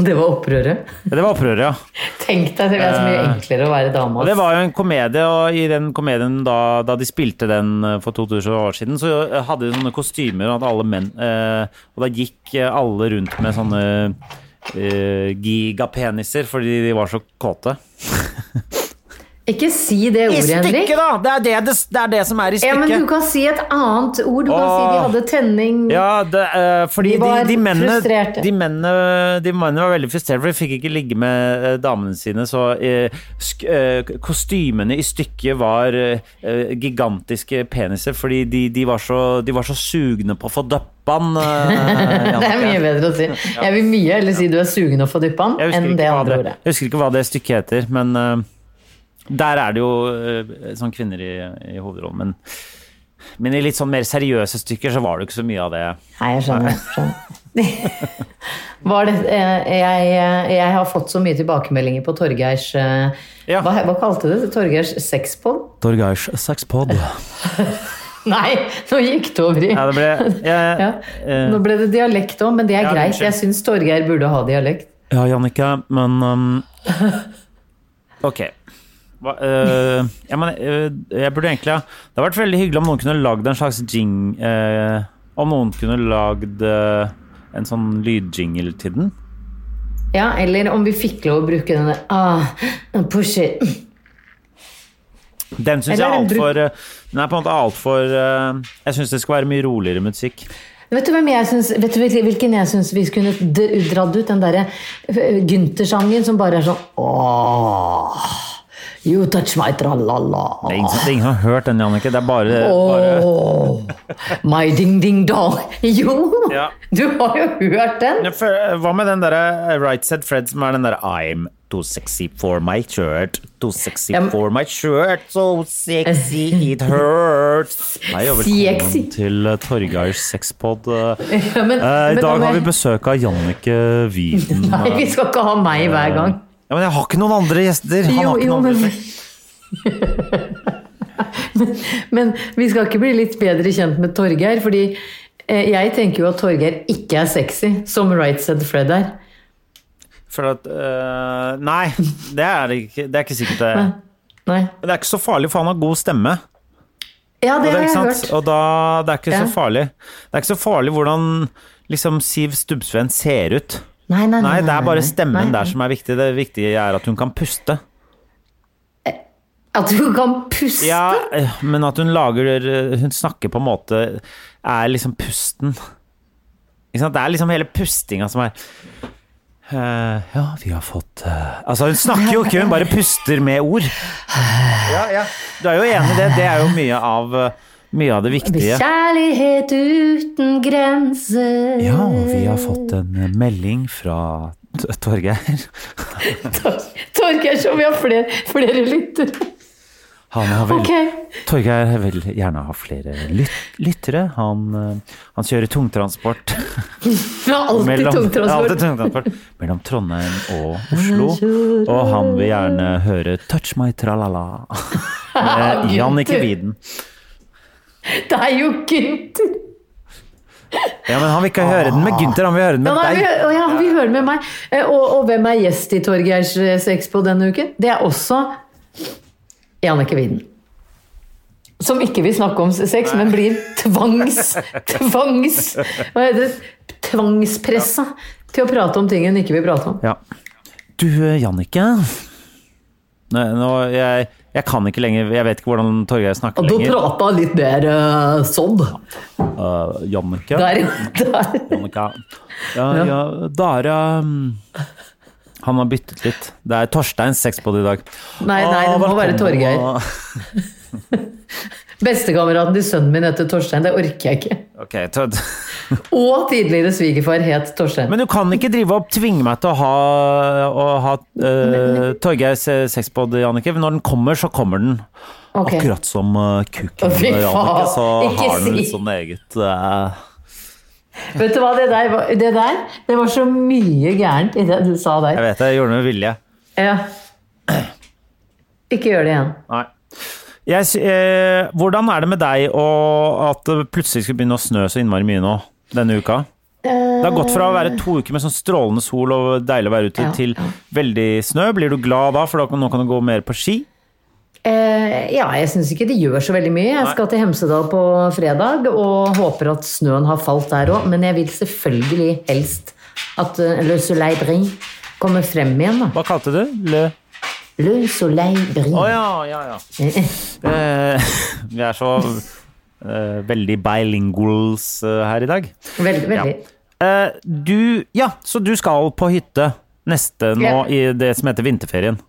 [SPEAKER 1] Det var opprøret.
[SPEAKER 2] Ja, Det var opprøret, ja.
[SPEAKER 1] Tenk deg, det er så mye enklere å være dame.
[SPEAKER 2] Eh. Og det
[SPEAKER 1] ass.
[SPEAKER 2] var jo en komedie, og i den komedien da, da de spilte den eh, for 2000 år siden, så eh, hadde de sånne kostymer, og, hadde alle menn, eh, og da gikk eh, alle rundt med sånne eh, gigapeniser fordi de var så kåte.
[SPEAKER 1] Ikke si det
[SPEAKER 2] I
[SPEAKER 1] ordet, Henrik.
[SPEAKER 2] stykket, da! Det er det, det, det er det som er i
[SPEAKER 1] Ja, men
[SPEAKER 2] stykket.
[SPEAKER 1] du kan si et annet ord. Du kan si de
[SPEAKER 2] Åh.
[SPEAKER 1] hadde tenning.
[SPEAKER 2] Ja, det, eh, fordi
[SPEAKER 1] De
[SPEAKER 2] de,
[SPEAKER 1] var
[SPEAKER 2] de, mennene,
[SPEAKER 1] frustrerte.
[SPEAKER 2] de, mennene, de mennene var veldig frustrerte, for de fikk ikke ligge med eh, damene sine. Så eh, sk eh, kostymene i stykket var eh, eh, gigantiske peniser, fordi de, de, var så, de var så sugne på å få døppan.
[SPEAKER 1] <laughs>
[SPEAKER 2] eh,
[SPEAKER 1] Det er mye
[SPEAKER 2] Jannicke.
[SPEAKER 1] bedre å si. Jeg vil mye heller si du er sugen å få dyppa den,
[SPEAKER 2] Jeg husker,
[SPEAKER 1] enn det
[SPEAKER 2] ikke hva
[SPEAKER 1] andre
[SPEAKER 2] det,
[SPEAKER 1] ordet.
[SPEAKER 2] jeg husker ikke hva det stykket heter, men eh, der er det jo eh, sånn kvinner i, i hovedrollen. Men, men i litt sånn mer seriøse stykker så var det jo ikke så mye av det.
[SPEAKER 1] Nei, jeg skjønner. <laughs> skjønner. Var det, eh, jeg, jeg har fått så mye tilbakemeldinger på Torgeirs eh,
[SPEAKER 2] Ja.
[SPEAKER 1] hva, hva kalte du det? Torgeirs sexpod?
[SPEAKER 2] Torgeirs sexpod.
[SPEAKER 1] <laughs> Nei, nå gikk det over i
[SPEAKER 2] Ja, det ble jeg,
[SPEAKER 1] <laughs> Ja.
[SPEAKER 2] eh,
[SPEAKER 1] Nå ble det dialekt òg, men det er
[SPEAKER 2] Ja,
[SPEAKER 1] greit.
[SPEAKER 2] unnskyld.
[SPEAKER 1] Jeg syns Torgeir burde ha dialekt.
[SPEAKER 2] Ja, Jannicke, men um, <laughs> Ok. Hva, eh, ja, men, eh, jeg burde egentlig ha Det hadde vært veldig hyggelig om noen kunne lagd en slags jing... eh, om noen kunne lagd eh, en sånn lydjingle til den.
[SPEAKER 1] Ja, eller om vi fikk lov å bruke denne ah, push it.
[SPEAKER 2] Den syns jeg
[SPEAKER 1] Eller
[SPEAKER 2] er
[SPEAKER 1] en bru-
[SPEAKER 2] altfor uh, Den er på en måte altfor uh, Jeg syns det skal være mye roligere musikk.
[SPEAKER 1] Vet du, hvem jeg syns, vet du hvil- hvilken jeg syns vi skulle d- dratt ut? Den derre øh, Gynter-sangen som bare er sånn Åh, You touch my
[SPEAKER 2] Det
[SPEAKER 1] tralala.
[SPEAKER 2] er ingen, som- det er ingen som har hørt den, Jannicke. Det er bare, bare
[SPEAKER 1] Åh, my ding-ding-dong. <laughs> Jo!
[SPEAKER 2] Ja.
[SPEAKER 1] Du har jo hørt den.
[SPEAKER 2] Men for- eh, Hva med den derre eh, Right Said Fred som er den derre I'm too sexy for my shirt, too sexy
[SPEAKER 1] Ja, men-
[SPEAKER 2] for my shirt, so sexy
[SPEAKER 1] <laughs>
[SPEAKER 2] it hurts. Hei og velkommen
[SPEAKER 1] Sexy.
[SPEAKER 2] til eh, Torgeirs sexpod. Eh,
[SPEAKER 1] Ja, <laughs> men-
[SPEAKER 2] I
[SPEAKER 1] men
[SPEAKER 2] dag
[SPEAKER 1] om
[SPEAKER 2] har vi
[SPEAKER 1] jeg-
[SPEAKER 2] besøk av
[SPEAKER 1] <laughs>
[SPEAKER 2] Jannicke Wieden.
[SPEAKER 1] Nei, vi skal ikke ha meg hver gang.
[SPEAKER 2] Ja, men jeg har ikke noen andre gjester! Han
[SPEAKER 1] Jo,
[SPEAKER 2] har ikke
[SPEAKER 1] jo,
[SPEAKER 2] noen andre
[SPEAKER 1] men
[SPEAKER 2] gjester.
[SPEAKER 1] <laughs> men, men vi skal ikke bli litt bedre kjent med Torgeir, fordi eh, jeg tenker jo at Torgeir ikke er sexy, som Right Said Fred er.
[SPEAKER 2] For at eh, Nei, det er det ikke, det er ikke sikkert. Det.
[SPEAKER 1] Nei.
[SPEAKER 2] Men det er ikke så farlig, for han har god stemme.
[SPEAKER 1] Ja, det
[SPEAKER 2] Og
[SPEAKER 1] har
[SPEAKER 2] det,
[SPEAKER 1] jeg
[SPEAKER 2] ikke
[SPEAKER 1] hørt.
[SPEAKER 2] sant? Og da, det er ikke
[SPEAKER 1] Ja.
[SPEAKER 2] så farlig. Det er ikke så farlig hvordan liksom, Siv Stubbsveen ser ut.
[SPEAKER 1] Nei, nei,
[SPEAKER 2] Nei, det er bare stemmen
[SPEAKER 1] Nei.
[SPEAKER 2] der som er viktig. Det viktige er at hun kan puste.
[SPEAKER 1] At du kan puste?
[SPEAKER 2] Ja, eh, men at hun lager eh, Hun snakker på en måte Er liksom pusten. Ikke sant? Det er liksom hele pustinga som er eh, ja, vi har fått eh, Altså, hun snakker jo ikke, hun bare puster med ord. Ja, ja. Du er jo enig i det. Det er jo mye av, eh, mye av det viktige.
[SPEAKER 1] Kjærlighet uten grenser.
[SPEAKER 2] Ja, vi har fått en eh, melding fra T- Torgeir.
[SPEAKER 1] Tor- Torgeir, som vi har flere, flere lyttere.
[SPEAKER 2] Han har vel,
[SPEAKER 1] Ok.
[SPEAKER 2] Torgeir vil gjerne ha flere lyt, lyttere. Han, eh, han kjører tungtransport.
[SPEAKER 1] Vi har alltid
[SPEAKER 2] alltid
[SPEAKER 1] <laughs> tungtransport.
[SPEAKER 2] tungtransport mellom Trondheim og Oslo. Og han vil gjerne høre 'Touch my tralala' med Jannicke Wieden.
[SPEAKER 1] Det er jo Gunther!
[SPEAKER 2] Ja, men han vil ikke høre den med Gunther, han vil høre den
[SPEAKER 1] Ah. Ja,
[SPEAKER 2] med
[SPEAKER 1] nei, vi,
[SPEAKER 2] deg.
[SPEAKER 1] å ja, vi hører med meg. Eh, Og, og hvem er gjest i Torgeirs eh, sexpo denne uken? Det er også Jannicke Wieden. Som ikke vil snakke om sex, men blir tvangs... tvangs hva heter det? Tvangspressa til å prate om ting hun ikke vil prate om.
[SPEAKER 2] Ja. Du, eh, Jannicke. Nei, nå, jeg, jeg kan ikke lenger Jeg vet ikke hvordan Torgeir snakker
[SPEAKER 1] Og da
[SPEAKER 2] lenger.
[SPEAKER 1] prata han litt mer eh, sånn.
[SPEAKER 2] Eh, Jannicke.
[SPEAKER 1] Der, der.
[SPEAKER 2] Jannicke. Ja, ja. Dara mm, Han har byttet litt. Det er Torsteins sexpod i dag.
[SPEAKER 1] Nei, nei, det
[SPEAKER 2] Å,
[SPEAKER 1] må være
[SPEAKER 2] velkommen.
[SPEAKER 1] Torgeir. Bestekameraten til sønnen min heter Torstein. Det orker jeg ikke.
[SPEAKER 2] Ok, Tor-
[SPEAKER 1] Og tidligere svigerfar het Torstein.
[SPEAKER 2] Men du kan ikke drive og tvinge meg til å ha, å ha eh, Torgeirs eh, sexpod, Jannicke. Når den kommer, så kommer den.
[SPEAKER 1] Ok.
[SPEAKER 2] Akkurat som eh, kuken,
[SPEAKER 1] Å, fy faen.
[SPEAKER 2] Jannicke, så
[SPEAKER 1] Ikke
[SPEAKER 2] har den
[SPEAKER 1] si.
[SPEAKER 2] et sånn eget eh,
[SPEAKER 1] Vet du hva, det der, var- det der Det var så mye gærent i det du sa
[SPEAKER 2] Jeg
[SPEAKER 1] der.
[SPEAKER 2] vet det, jeg gjorde det med vilje.
[SPEAKER 1] Ja. Ikke gjør det igjen.
[SPEAKER 2] Nei. Jeg, sy- eh, hvordan er det med deg og at det plutselig skulle begynne å snø så innmari mye nå denne uka? Det har gått fra å være to uker med sånn strålende sol og deilig å være ute,
[SPEAKER 1] Eh. Ja,
[SPEAKER 2] til
[SPEAKER 1] ja.
[SPEAKER 2] veldig snø. Blir du glad da, for da kan, nå kan du gå mer på ski?
[SPEAKER 1] Eh, ja, jeg syns ikke det gjør så veldig mye. Jeg skal til Hemsedal på fredag og håper at snøen har falt der òg. Men jeg vil selvfølgelig helst at eh, Le Soleil Brie kommer frem igjen, da.
[SPEAKER 2] Hva kalte du? Le
[SPEAKER 1] Le soleil brille.
[SPEAKER 2] Å ja, ja, ja. Eh, <laughs> vi er så eh, veldig bilinguals eh, her i dag.
[SPEAKER 1] <laughs> Veldig, veldig.
[SPEAKER 2] Eh, du Ja, så du skal på hytte neste nå
[SPEAKER 1] Ja.
[SPEAKER 2] i det som heter vinterferien.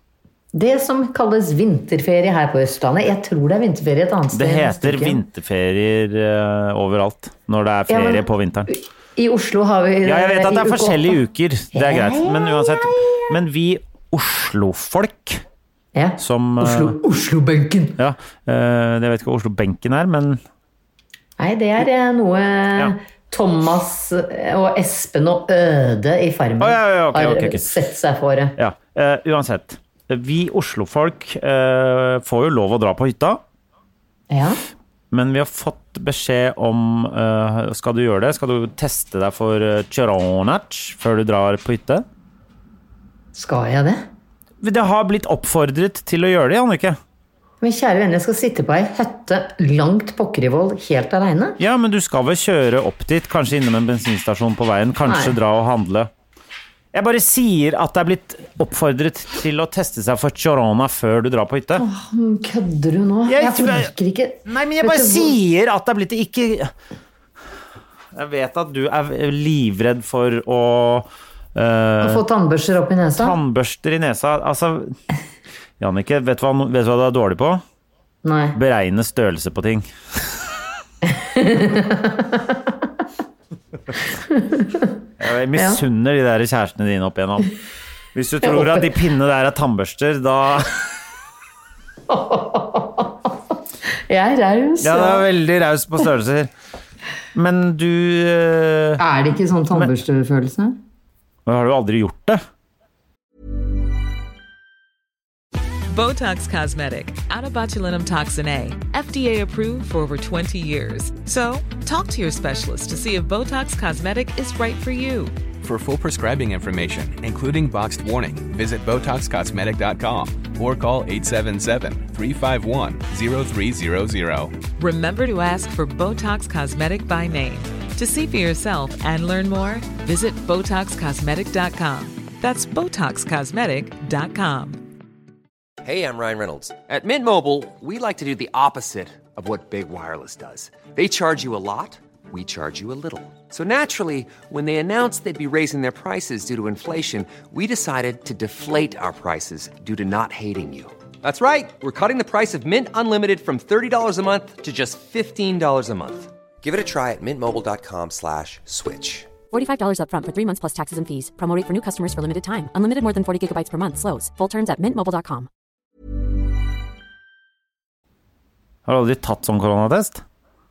[SPEAKER 1] Det som kalles vinterferie her på Østlandet. Jeg tror det er vinterferie et annet sted.
[SPEAKER 2] Det
[SPEAKER 1] neste
[SPEAKER 2] heter
[SPEAKER 1] uke.
[SPEAKER 2] vinterferier eh, overalt når det er
[SPEAKER 1] Ja,
[SPEAKER 2] ferie
[SPEAKER 1] men-
[SPEAKER 2] på vinteren.
[SPEAKER 1] I Oslo har vi
[SPEAKER 2] Ja, jeg vet at det
[SPEAKER 1] i
[SPEAKER 2] er
[SPEAKER 1] uke
[SPEAKER 2] forskjellige
[SPEAKER 1] åtte.
[SPEAKER 2] uker, det er greit. Men uansett. Men vi Oslo-folk
[SPEAKER 1] Ja.
[SPEAKER 2] som eh,
[SPEAKER 1] Oslo, Oslo-benken.
[SPEAKER 2] Ja, eh, jeg vet ikke hva Oslo-benken er, men
[SPEAKER 1] Nei, det er eh, noe Thomas eh, og Espen og Øde i Farmen
[SPEAKER 2] Å, ja, ja, ok, ok, ok.
[SPEAKER 1] har sett seg for. eh.
[SPEAKER 2] ja. eh, uansett. Vi Oslo-folk eh, får jo lov å dra på hytta.
[SPEAKER 1] Ja.
[SPEAKER 2] Men vi har fått beskjed om eh, Skal du gjøre det? Skal du teste deg for uh, før du drar på hytte?
[SPEAKER 1] Skal jeg det?
[SPEAKER 2] Det har blitt oppfordret til å gjøre det, Jannicke.
[SPEAKER 1] Men kjære venner, jeg skal sitte på ei hytte langt pokker i vold helt aleine?
[SPEAKER 2] Ja, men du skal vel kjøre opp dit, kanskje innom en bensinstasjon på veien, kanskje
[SPEAKER 1] Nei.
[SPEAKER 2] dra og handle. Jeg bare sier at det er blitt oppfordret til å teste seg for Chorona før du drar på hytte.
[SPEAKER 1] Kødder du nå?
[SPEAKER 2] Jeg-
[SPEAKER 1] Jeg, orker ikke
[SPEAKER 2] Nei, men jeg
[SPEAKER 1] Vet du
[SPEAKER 2] bare
[SPEAKER 1] hvor-
[SPEAKER 2] sier at det er blitt ikke Jeg vet at du er livredd for å eh,
[SPEAKER 1] Få tannbørster opp i nesa?
[SPEAKER 2] Tannbørster i nesa Altså, Jannicke, vet, du hva- vet du hva du er dårlig på?
[SPEAKER 1] Nei.
[SPEAKER 2] Beregne størrelse på ting. Jeg misunner de der kjærestene dine opp igjennom. Hvis du tror at de pinnene der er tannbørster, da
[SPEAKER 1] <laughs> Jeg er raus.
[SPEAKER 2] Ja, det
[SPEAKER 1] ja.
[SPEAKER 2] er veldig raus på størrelser. Men du eh,
[SPEAKER 1] Er det ikke sånn tannbørstefølelse?
[SPEAKER 2] men Har du aldri gjort det?
[SPEAKER 3] Botox Cosmetic, out of botulinum toxin A, FDA approved for over 20 years. So, talk to your specialist to see if Botox Cosmetic is right for you.
[SPEAKER 4] For full prescribing information, including boxed warning, visit BotoxCosmetic.com or call 877-351-0300.
[SPEAKER 3] Remember to ask for Botox Cosmetic by name. To see for yourself and learn more, visit BotoxCosmetic.com. That's BotoxCosmetic.com.
[SPEAKER 5] Hey, I'm Ryan Reynolds. At Mint Mobile, we like to do the opposite of what Big Wireless does. They charge you a lot, we charge you a little. So naturally, when they announced they'd be raising their prices due to inflation, we decided to deflate our prices due to not hating you. That's right. We're cutting the price of Mint Unlimited from $30 a month to just $15 a month. Give it a try at mintmobile.com slash switch.
[SPEAKER 6] $45 upfront for three months plus taxes and fees. Promo rate for new customers for limited time. Unlimited more than 40 gigabytes per month. Slows. Full terms at mintmobile.com.
[SPEAKER 2] Har du aldri tatt sånn koronatest?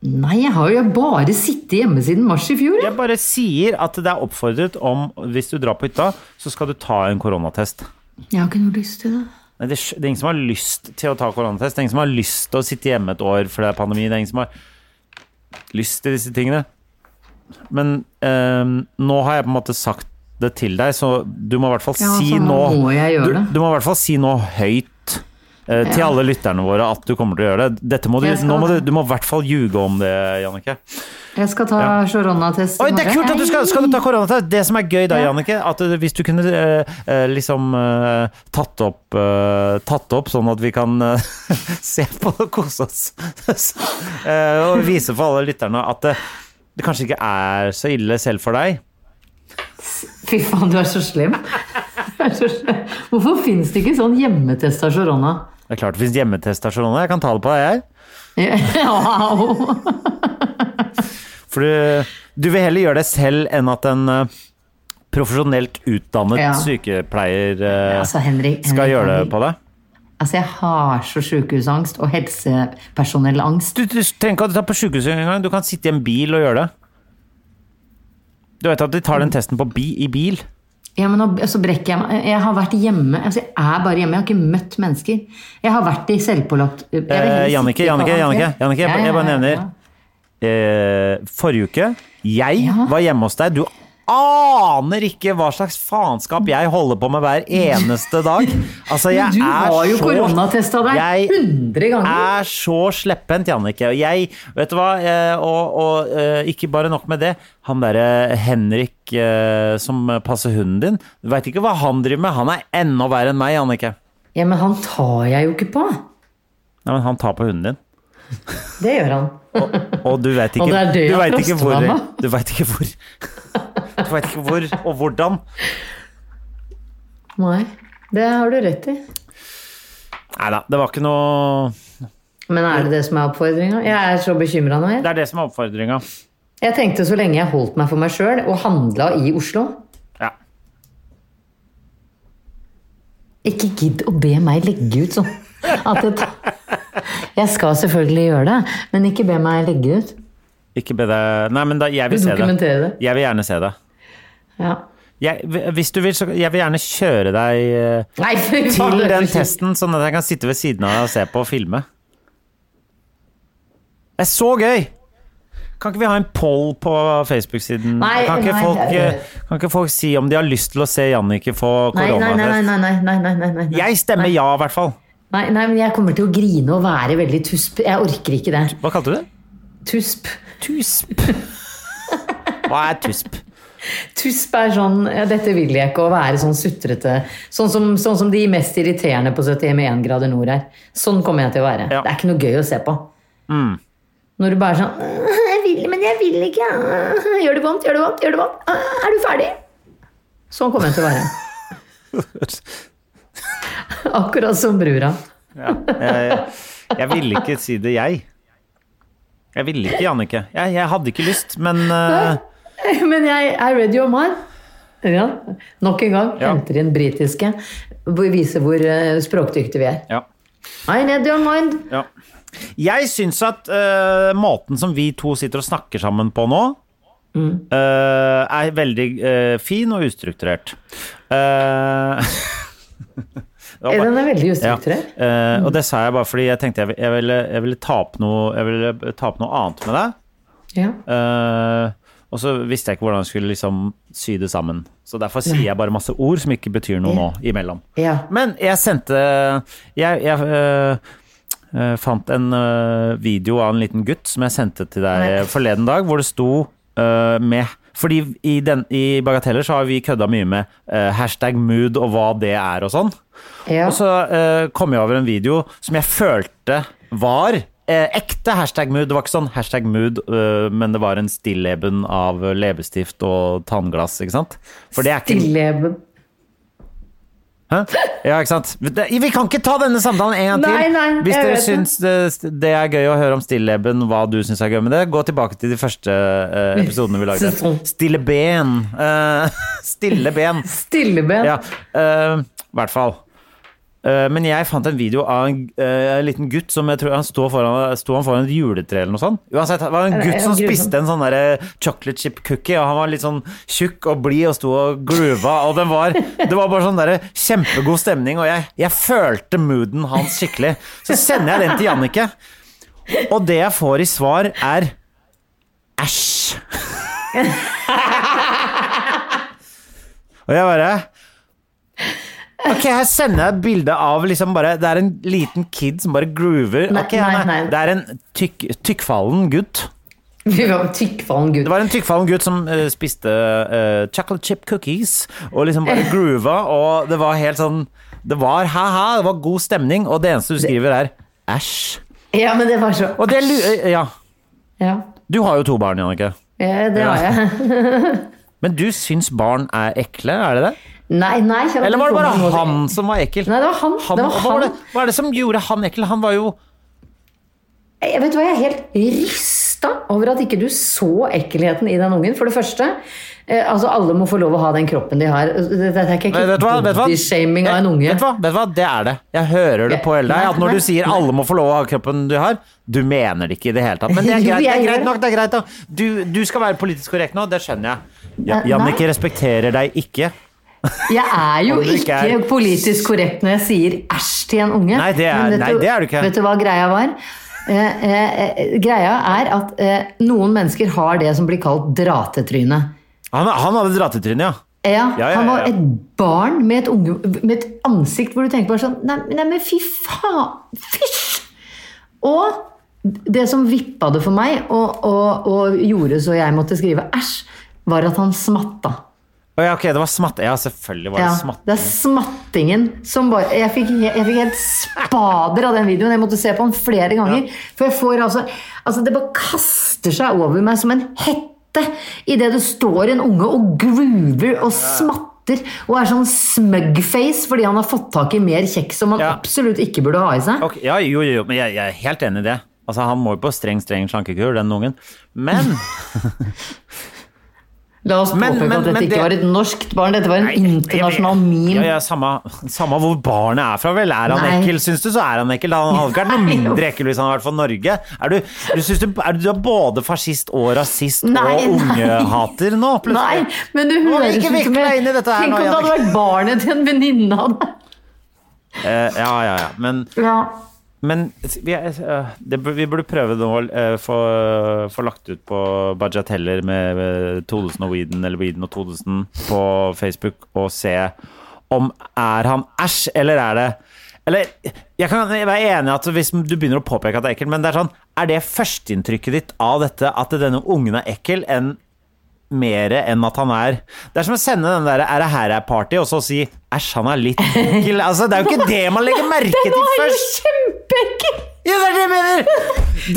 [SPEAKER 1] Nei, jeg har jo bare sittet hjemme siden mars i fjor. jeg.
[SPEAKER 2] Jeg bare sier at det er oppfordret om hvis du drar på hytta, så skal du ta en koronatest.
[SPEAKER 1] Jeg har ikke noe lyst til det.
[SPEAKER 2] Nei, det, er sj- det er ingen som har lyst til å ta koronatest. Det er ingen som har lyst til å sitte hjemme et år for det er pandemi. Det er ingen som har lyst til disse tingene. Men ehm, nå har jeg på en måte sagt det til deg, så du må i hvert fall
[SPEAKER 1] Ja,
[SPEAKER 2] si
[SPEAKER 1] så nå
[SPEAKER 2] nå
[SPEAKER 1] må jeg gjøre
[SPEAKER 2] du,
[SPEAKER 1] det.
[SPEAKER 2] du må i hvert fall si nå høyt eh, til alle lytterne våre at du kommer til å gjøre det. Dette må du,
[SPEAKER 1] Jeg skal
[SPEAKER 2] nå må du,
[SPEAKER 1] det.
[SPEAKER 2] du må i hvert fall ljuge om det, Jannicke.
[SPEAKER 1] Jeg skal ta koronatest i
[SPEAKER 2] Oi, det er
[SPEAKER 1] morgen.
[SPEAKER 2] kult at du skal, skal du ta koronatest. Det som er gøy da,
[SPEAKER 1] Ja.
[SPEAKER 2] Jannicke, at du- hvis du kunne eh, eh, liksom eh, tatt, opp, eh, tatt opp sånn at vi kan eh, <laughs> se på og kose oss <laughs> Eh, og vise for alle lytterne at eh, det kanskje ikke er så ille selv for deg.
[SPEAKER 1] Fy faen, du er så slem. Du er så slem. Hvorfor finnes det ikke sånn hjemmetest av korona? <laughs>
[SPEAKER 2] Det er klart det finnes hjemmetest av Charlone, jeg kan ta det på deg, jeg.
[SPEAKER 1] Wow.
[SPEAKER 2] For du, du vil heller gjøre det selv enn at en eh, profesjonelt utdannet
[SPEAKER 1] Ja.
[SPEAKER 2] sykepleier eh,
[SPEAKER 1] Altså, Henrik, Henrik
[SPEAKER 2] skal gjøre det
[SPEAKER 1] Henrik.
[SPEAKER 2] på deg.
[SPEAKER 1] Altså, jeg har så sykehusangst og helsepersonellangst.
[SPEAKER 2] Du, du trenger ikke å ta på sykehuset engang. Du kan sitte i en bil og gjøre det. Du vet at de tar den
[SPEAKER 1] Mm.
[SPEAKER 2] testen på bi, i bil?
[SPEAKER 1] Ja, men nå, så brekker jeg meg. Jeg har vært hjemme. Altså, jeg er bare hjemme. Jeg har ikke møtt mennesker. Jeg har vært i selvpålagt jeg vil
[SPEAKER 2] Eh,
[SPEAKER 1] helst
[SPEAKER 2] Jannicke,
[SPEAKER 1] ikke ha vært
[SPEAKER 2] Jannicke,
[SPEAKER 1] det.
[SPEAKER 2] Jannicke, Jannicke, jeg
[SPEAKER 1] Ja,
[SPEAKER 2] bare-
[SPEAKER 1] ja,
[SPEAKER 2] jeg bare
[SPEAKER 1] ja,
[SPEAKER 2] nevner.
[SPEAKER 1] ja.
[SPEAKER 2] Eh, forrige uke, jeg
[SPEAKER 1] Ja.
[SPEAKER 2] var hjemme hos deg. Du aner ikke hva slags faenskap jeg holder på med hver
[SPEAKER 1] <laughs>
[SPEAKER 2] eneste dag. Altså, jeg
[SPEAKER 1] Men du
[SPEAKER 2] er
[SPEAKER 1] har jo
[SPEAKER 2] så-
[SPEAKER 1] koronatesta deg
[SPEAKER 2] Jeg
[SPEAKER 1] 100 ganger.
[SPEAKER 2] er så slepphendt, Jannicke. Og jeg, vet du hva, eh, og, og eh, ikke bare nok med det. Han derre Henrik eh, som passer hunden din, du veit ikke hva han driver med. Han er enda verre enn meg, Jannicke.
[SPEAKER 1] Ja, men han tar jeg jo ikke på.
[SPEAKER 2] Nei, men han tar på hunden din.
[SPEAKER 1] Det gjør han.
[SPEAKER 2] Og du veit ikke,
[SPEAKER 1] Og det er det
[SPEAKER 2] du
[SPEAKER 1] jeg
[SPEAKER 2] vet ikke
[SPEAKER 1] trøster
[SPEAKER 2] hvor
[SPEAKER 1] meg med.
[SPEAKER 2] Du veit ikke hvor Du veit ikke hvor og hvordan.
[SPEAKER 1] Nei, det har du rett i.
[SPEAKER 2] Nei da, det var ikke noe
[SPEAKER 1] Men er det det som er oppfordringa? Jeg er så bekymra nå. Jeg.
[SPEAKER 2] Det er det som er oppfordringa.
[SPEAKER 1] jeg tenkte så lenge jeg holdt meg for meg sjøl og handla i Oslo
[SPEAKER 2] Ja.
[SPEAKER 1] Ikke gidd å be meg legge ut sånn. At jeg, ta- jeg skal selvfølgelig gjøre det, men ikke be meg legge ut.
[SPEAKER 2] Ikke be deg Nei, men da, jeg vil
[SPEAKER 1] Du
[SPEAKER 2] se det.
[SPEAKER 1] dokumenterer det.
[SPEAKER 2] Jeg vil gjerne se det.
[SPEAKER 1] Ja.
[SPEAKER 2] Jeg, hvis du vil, så Jeg vil gjerne kjøre deg eh,
[SPEAKER 1] Nei, fy faen,
[SPEAKER 2] til
[SPEAKER 1] det er så
[SPEAKER 2] den
[SPEAKER 1] kjipt.
[SPEAKER 2] testen, sånn at jeg kan sitte ved siden av deg og se på og filme. Det er så gøy! Kan ikke vi ha en poll på Facebook-siden?
[SPEAKER 1] Nei,
[SPEAKER 2] Kan, ikke
[SPEAKER 1] nei,
[SPEAKER 2] folk,
[SPEAKER 1] jeg-
[SPEAKER 2] eh, kan ikke folk si om de har lyst til å se Jannicke få
[SPEAKER 1] Nei, nei, nei, nei,
[SPEAKER 2] koronatest?
[SPEAKER 1] nei, nei, nei, nei, nei, nei.
[SPEAKER 2] Jeg stemmer ja, i hvert fall.
[SPEAKER 1] Nei, nei, men jeg kommer til å grine og være veldig tusp. Jeg orker ikke det.
[SPEAKER 2] Hva kalte du det?
[SPEAKER 1] Tusp.
[SPEAKER 2] Tusp. <laughs> Hva er tusp?
[SPEAKER 1] Tusp er sånn ja, Dette vil jeg ikke, å være sånn sutrete. Sånn som, sånn som de mest irriterende på 71 grader nord er. Sånn kommer jeg til å være.
[SPEAKER 2] Ja.
[SPEAKER 1] Det er ikke noe gøy å se på. Når du bare er sånn «Øh, Jeg vil, men jeg vil ikke. Øh, Gjør det vondt, gjør det vondt, gjør det vondt. Øh, Er du ferdig? Sånn kommer jeg til å være. <laughs> Akkurat som brura.
[SPEAKER 2] Jeg, Eh, jeg ville ikke si det, jeg. Jeg ville ikke, Jannicke. Jeg, jeg hadde ikke lyst, men eh,
[SPEAKER 1] Men jeg er ready on mine. Ja. Nok en gang
[SPEAKER 2] Ja.
[SPEAKER 1] henter inn britiske. Viser hvor eh, språkdyktige vi er.
[SPEAKER 2] ja.
[SPEAKER 1] I'm ready on mind.
[SPEAKER 2] Ja. Jeg syns at eh, måten som vi to sitter og snakker sammen på nå,
[SPEAKER 1] Mm.
[SPEAKER 2] eh, er veldig eh, fin og ustrukturert. Eh, <laughs> det var
[SPEAKER 1] Den
[SPEAKER 2] bare-
[SPEAKER 1] er veldig
[SPEAKER 2] ja.
[SPEAKER 1] ustrukturert. Mm.
[SPEAKER 2] Eh, og det sa jeg bare fordi jeg tenkte jeg, vil- jeg, ville, jeg, ville ta opp noe, jeg ville ta opp noe annet med deg.
[SPEAKER 1] Ja.
[SPEAKER 2] Eh, og så visste jeg ikke hvordan jeg skulle liksom sy det sammen. Så derfor sier jeg bare masse ord som ikke betyr noe nå imellom.
[SPEAKER 1] Ja.
[SPEAKER 2] Men jeg sendte Jeg, jeg øh, øh, fant en øh, video av en liten gutt som jeg sendte til deg
[SPEAKER 1] Nei.
[SPEAKER 2] forleden dag, hvor det sto øh, med fordi i, den, i Bagateller så har vi kødda mye med øh, hashtag mood og hva det er og sånn.
[SPEAKER 1] Ja.
[SPEAKER 2] Og så øh, kom jeg over en video som jeg følte var eh, ekte hashtag mood. Det var ikke sånn hashtag mood, øh, men det var en stilleben av leppestift og tannglass, ikke sant? For det er ikke
[SPEAKER 1] Stilleben.
[SPEAKER 2] Hæ? Ja, ikke sant? Det- Vi kan ikke ta denne samtalen en gang til.
[SPEAKER 1] Nei, nei,
[SPEAKER 2] Hvis
[SPEAKER 1] jeg
[SPEAKER 2] dere
[SPEAKER 1] vet det.
[SPEAKER 2] syns det, det er gøy å høre om stilleben, hva du syns er gøy med det, gå tilbake til de første eh, episodene vi lagde.
[SPEAKER 1] <laughs> Sesong.
[SPEAKER 2] Stille ben. Eh, <laughs> stille ben.
[SPEAKER 1] Stilleben.
[SPEAKER 2] Ja, eh, i hvert fall. Eh, men jeg fant en video av en eh, liten gutt som jeg tror han sto foran, sto han foran et juletre eller noe sånt. Uansett, det var en
[SPEAKER 1] det
[SPEAKER 2] gutt
[SPEAKER 1] er
[SPEAKER 2] som
[SPEAKER 1] grusomt.
[SPEAKER 2] spiste en sånn der chocolate chip cookie, og han var litt sånn tjukk og blid og sto og groova, og den var, det var bare sånn der kjempegod stemning, og jeg, jeg følte mooden hans skikkelig. Så sender jeg den til Jannicke, og det jeg får i svar er æsj. <laughs> Og jeg bare Ok, her sender jeg et bilde av liksom bare Det er en liten kid som bare groover.
[SPEAKER 1] Nei,
[SPEAKER 2] Ok, han er-
[SPEAKER 1] nei, nei.
[SPEAKER 2] Det er en tykk, tykkfallen gutt.
[SPEAKER 1] <laughs> Vi var tykkfallen gutt.
[SPEAKER 2] Det var en tykkfallen gutt som eh, spiste eh, chocolate chip cookies og liksom
[SPEAKER 1] <laughs>
[SPEAKER 2] bare groova, og det var helt sånn Det var ha-ha, det var god stemning, og det eneste du skriver, er æsj.
[SPEAKER 1] Ja, men det var så
[SPEAKER 2] Og det lu... eh, Ja.
[SPEAKER 1] Ja,
[SPEAKER 2] Du har jo to barn, Jannicke.
[SPEAKER 1] ja det har jeg.
[SPEAKER 2] Men du syns barn er ekle, er det det?
[SPEAKER 1] Nei, nei. jeg
[SPEAKER 2] Eller var det
[SPEAKER 1] ikke sånn.
[SPEAKER 2] bare han som var ekkel?
[SPEAKER 1] Nei, det var han.
[SPEAKER 2] Han,
[SPEAKER 1] det var
[SPEAKER 2] hva, var det,
[SPEAKER 1] han.
[SPEAKER 2] hva er det som gjorde han ekkel? Han var jo
[SPEAKER 1] Jeg vet du hva, jeg er helt rysta over at ikke du så ekkelheten i den ungen, for det første. Eh, altså, alle må få lov å ha den kroppen de har. Dette er ikke
[SPEAKER 2] Nei, vet du hva? Vet du hva?
[SPEAKER 1] body-shaming av en
[SPEAKER 2] Eh,
[SPEAKER 1] unge.
[SPEAKER 2] Vet du hva? Vet du hva? Det er det. Jeg hører det på hele deg. At
[SPEAKER 1] Nei,
[SPEAKER 2] når
[SPEAKER 1] nei,
[SPEAKER 2] du sier 'alle må få lov å ha kroppen du har', du mener det ikke i det hele tatt. Men det er
[SPEAKER 1] <laughs> Jo,
[SPEAKER 2] greit, det
[SPEAKER 1] jeg
[SPEAKER 2] er
[SPEAKER 1] gjør
[SPEAKER 2] greit
[SPEAKER 1] det.
[SPEAKER 2] nok. det er greit nok. Du, du skal være politisk korrekt nå, det skjønner jeg. Ja,
[SPEAKER 1] Eh,
[SPEAKER 2] Jannicke respekterer deg ikke.
[SPEAKER 1] Jeg er jo
[SPEAKER 2] Om du ikke
[SPEAKER 1] ikke
[SPEAKER 2] er-
[SPEAKER 1] politisk korrekt når jeg sier æsj til en unge.
[SPEAKER 2] Nei, det er-
[SPEAKER 1] Men vet
[SPEAKER 2] nei, det er du ikke.
[SPEAKER 1] Vet du hva greia var? Eh, eh, eh, greia er at eh, noen mennesker har det som blir kalt dratetryne.
[SPEAKER 2] Han, han hadde dratetryne, ja.
[SPEAKER 1] Ja,
[SPEAKER 2] Ja, ja, ja,
[SPEAKER 1] Han var
[SPEAKER 2] ja.
[SPEAKER 1] et barn med et, unge, med et ansikt hvor du tenker bare sånn Nei, nei men fy faen! Fysj! Og det som vippa det for meg, og, og, og gjorde så jeg måtte skrive æsj, var at han smatta.
[SPEAKER 2] Å ja, ok, det var smatt... Ja, selvfølgelig var det
[SPEAKER 1] Ja,
[SPEAKER 2] smatt...
[SPEAKER 1] det er smattingen som bare Jeg fikk, he- jeg fikk helt spader av den videoen. Jeg måtte se på den flere ganger. For jeg får altså Altså, det bare kaster seg over meg som en hette idet det står en unge og groover og smatter og er sånn smugface fordi han har fått tak i mer kjeks som han
[SPEAKER 2] Ja.
[SPEAKER 1] absolutt ikke burde ha i seg.
[SPEAKER 2] Ok, ja, jo, jo, jo, men jeg, jeg er helt enig i det. Altså, han må jo på streng, streng slankekur, den ungen. Men
[SPEAKER 1] La oss
[SPEAKER 2] Men-
[SPEAKER 1] påpeke
[SPEAKER 2] men-
[SPEAKER 1] at dette
[SPEAKER 2] men det-
[SPEAKER 1] ikke var et norskt barn, dette var en internasjonal meme.
[SPEAKER 2] ja, ja, samme, samme hvor barnet er fra, vel. Er han
[SPEAKER 1] Nei.
[SPEAKER 2] ekkel, syns du, så er han ekkel. Han hadde ikke vært noe
[SPEAKER 1] Nei.
[SPEAKER 2] mindre ekkel hvis han hadde vært fra Norge. Er du, du, synes du, er du både fascist og rasist
[SPEAKER 1] Nei,
[SPEAKER 2] og
[SPEAKER 1] nei.
[SPEAKER 2] ungehater nå,
[SPEAKER 1] Nei,
[SPEAKER 2] plutselig?
[SPEAKER 1] men du
[SPEAKER 2] Nå må vi
[SPEAKER 1] høres ut
[SPEAKER 2] ikke
[SPEAKER 1] som
[SPEAKER 2] vikle
[SPEAKER 1] jeg-
[SPEAKER 2] inn i dette her
[SPEAKER 1] Tenk
[SPEAKER 2] nå,
[SPEAKER 1] om det hadde
[SPEAKER 2] Jannicke.
[SPEAKER 1] vært barnet til en venninne av deg.
[SPEAKER 2] Eh, ja, ja, ja. Men
[SPEAKER 1] Ja.
[SPEAKER 2] Men vi, er- øh, det, bur- vi burde prøve nå å øh, få, få lagt ut på Bajateller med øh, Todesen og Weeden eller Weeden og Todesen på Facebook og se om er han æsj, eller er det Eller jeg kan være enig i at hvis du begynner å påpeke at det er ekkelt, men det er sånn Er det førsteinntrykket ditt av dette at denne ungen er ekkel, enn mere enn at han er Det er som å sende den der 'er det her er party', og så si 'æsj, han er litt ekkel'. Altså, det er jo ikke det man legger
[SPEAKER 1] <laughs>
[SPEAKER 2] merke
[SPEAKER 1] Den
[SPEAKER 2] til
[SPEAKER 1] var jo
[SPEAKER 2] først.
[SPEAKER 1] kjempeekkel!
[SPEAKER 2] Ja, det er det jeg
[SPEAKER 1] <laughs>
[SPEAKER 2] mener! Det,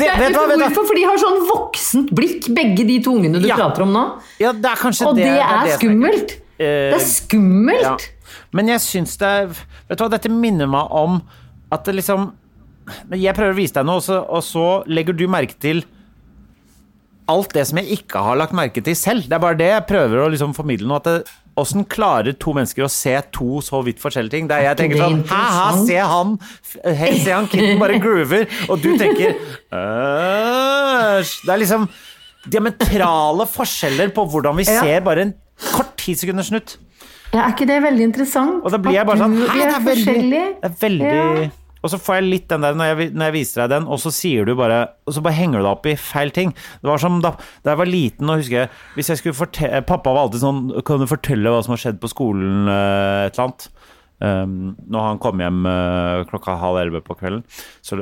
[SPEAKER 1] Jeg
[SPEAKER 2] vet
[SPEAKER 1] vet
[SPEAKER 2] du hva, vet du hva?
[SPEAKER 1] hvorfor, for de har sånn voksent blikk, begge de to ungene du
[SPEAKER 2] Ja.
[SPEAKER 1] prater om nå.
[SPEAKER 2] Ja, det er kanskje
[SPEAKER 1] Og det,
[SPEAKER 2] det,
[SPEAKER 1] er
[SPEAKER 2] det som
[SPEAKER 1] skummelt!
[SPEAKER 2] Eh,
[SPEAKER 1] det er skummelt!
[SPEAKER 2] Ja. Men jeg syns det er Vet du hva, dette minner meg om at det liksom Jeg prøver å vise deg noe, og så, og så legger du merke til alt det som jeg ikke har lagt merke til selv. Det er bare det jeg prøver å liksom formidle nå. At det, hvordan klarer to mennesker å se to så vidt forskjellige ting? Der jeg
[SPEAKER 1] ikke
[SPEAKER 2] tenker sånn
[SPEAKER 1] det
[SPEAKER 2] Hæ,
[SPEAKER 1] interessant?»
[SPEAKER 2] se han! Hei, se han kitten bare groover! Og du tenker Æsj! Det er liksom diametrale forskjeller på hvordan vi
[SPEAKER 1] Ja.
[SPEAKER 2] ser bare en kort tisekundersnutt.
[SPEAKER 1] Ja, er ikke det veldig interessant?
[SPEAKER 2] Og da blir
[SPEAKER 1] At
[SPEAKER 2] jeg bare sånn
[SPEAKER 1] du-
[SPEAKER 2] «Hæ,
[SPEAKER 1] Vi er,
[SPEAKER 2] veldig,
[SPEAKER 1] forskjellige.
[SPEAKER 2] det er veldig
[SPEAKER 1] Ja.
[SPEAKER 2] Og så får jeg litt den der når jeg, vi- når jeg viser deg den, og så sier du bare Og så bare henger du deg opp i feil ting. Det var som da, da jeg var liten, og husker jeg Hvis jeg skulle fortelle Pappa var alltid sånn Kan du fortelle hva som har skjedd på skolen, eh, et eller annet? Um, når han kom hjem eh, klokka halv elleve på kvelden. Så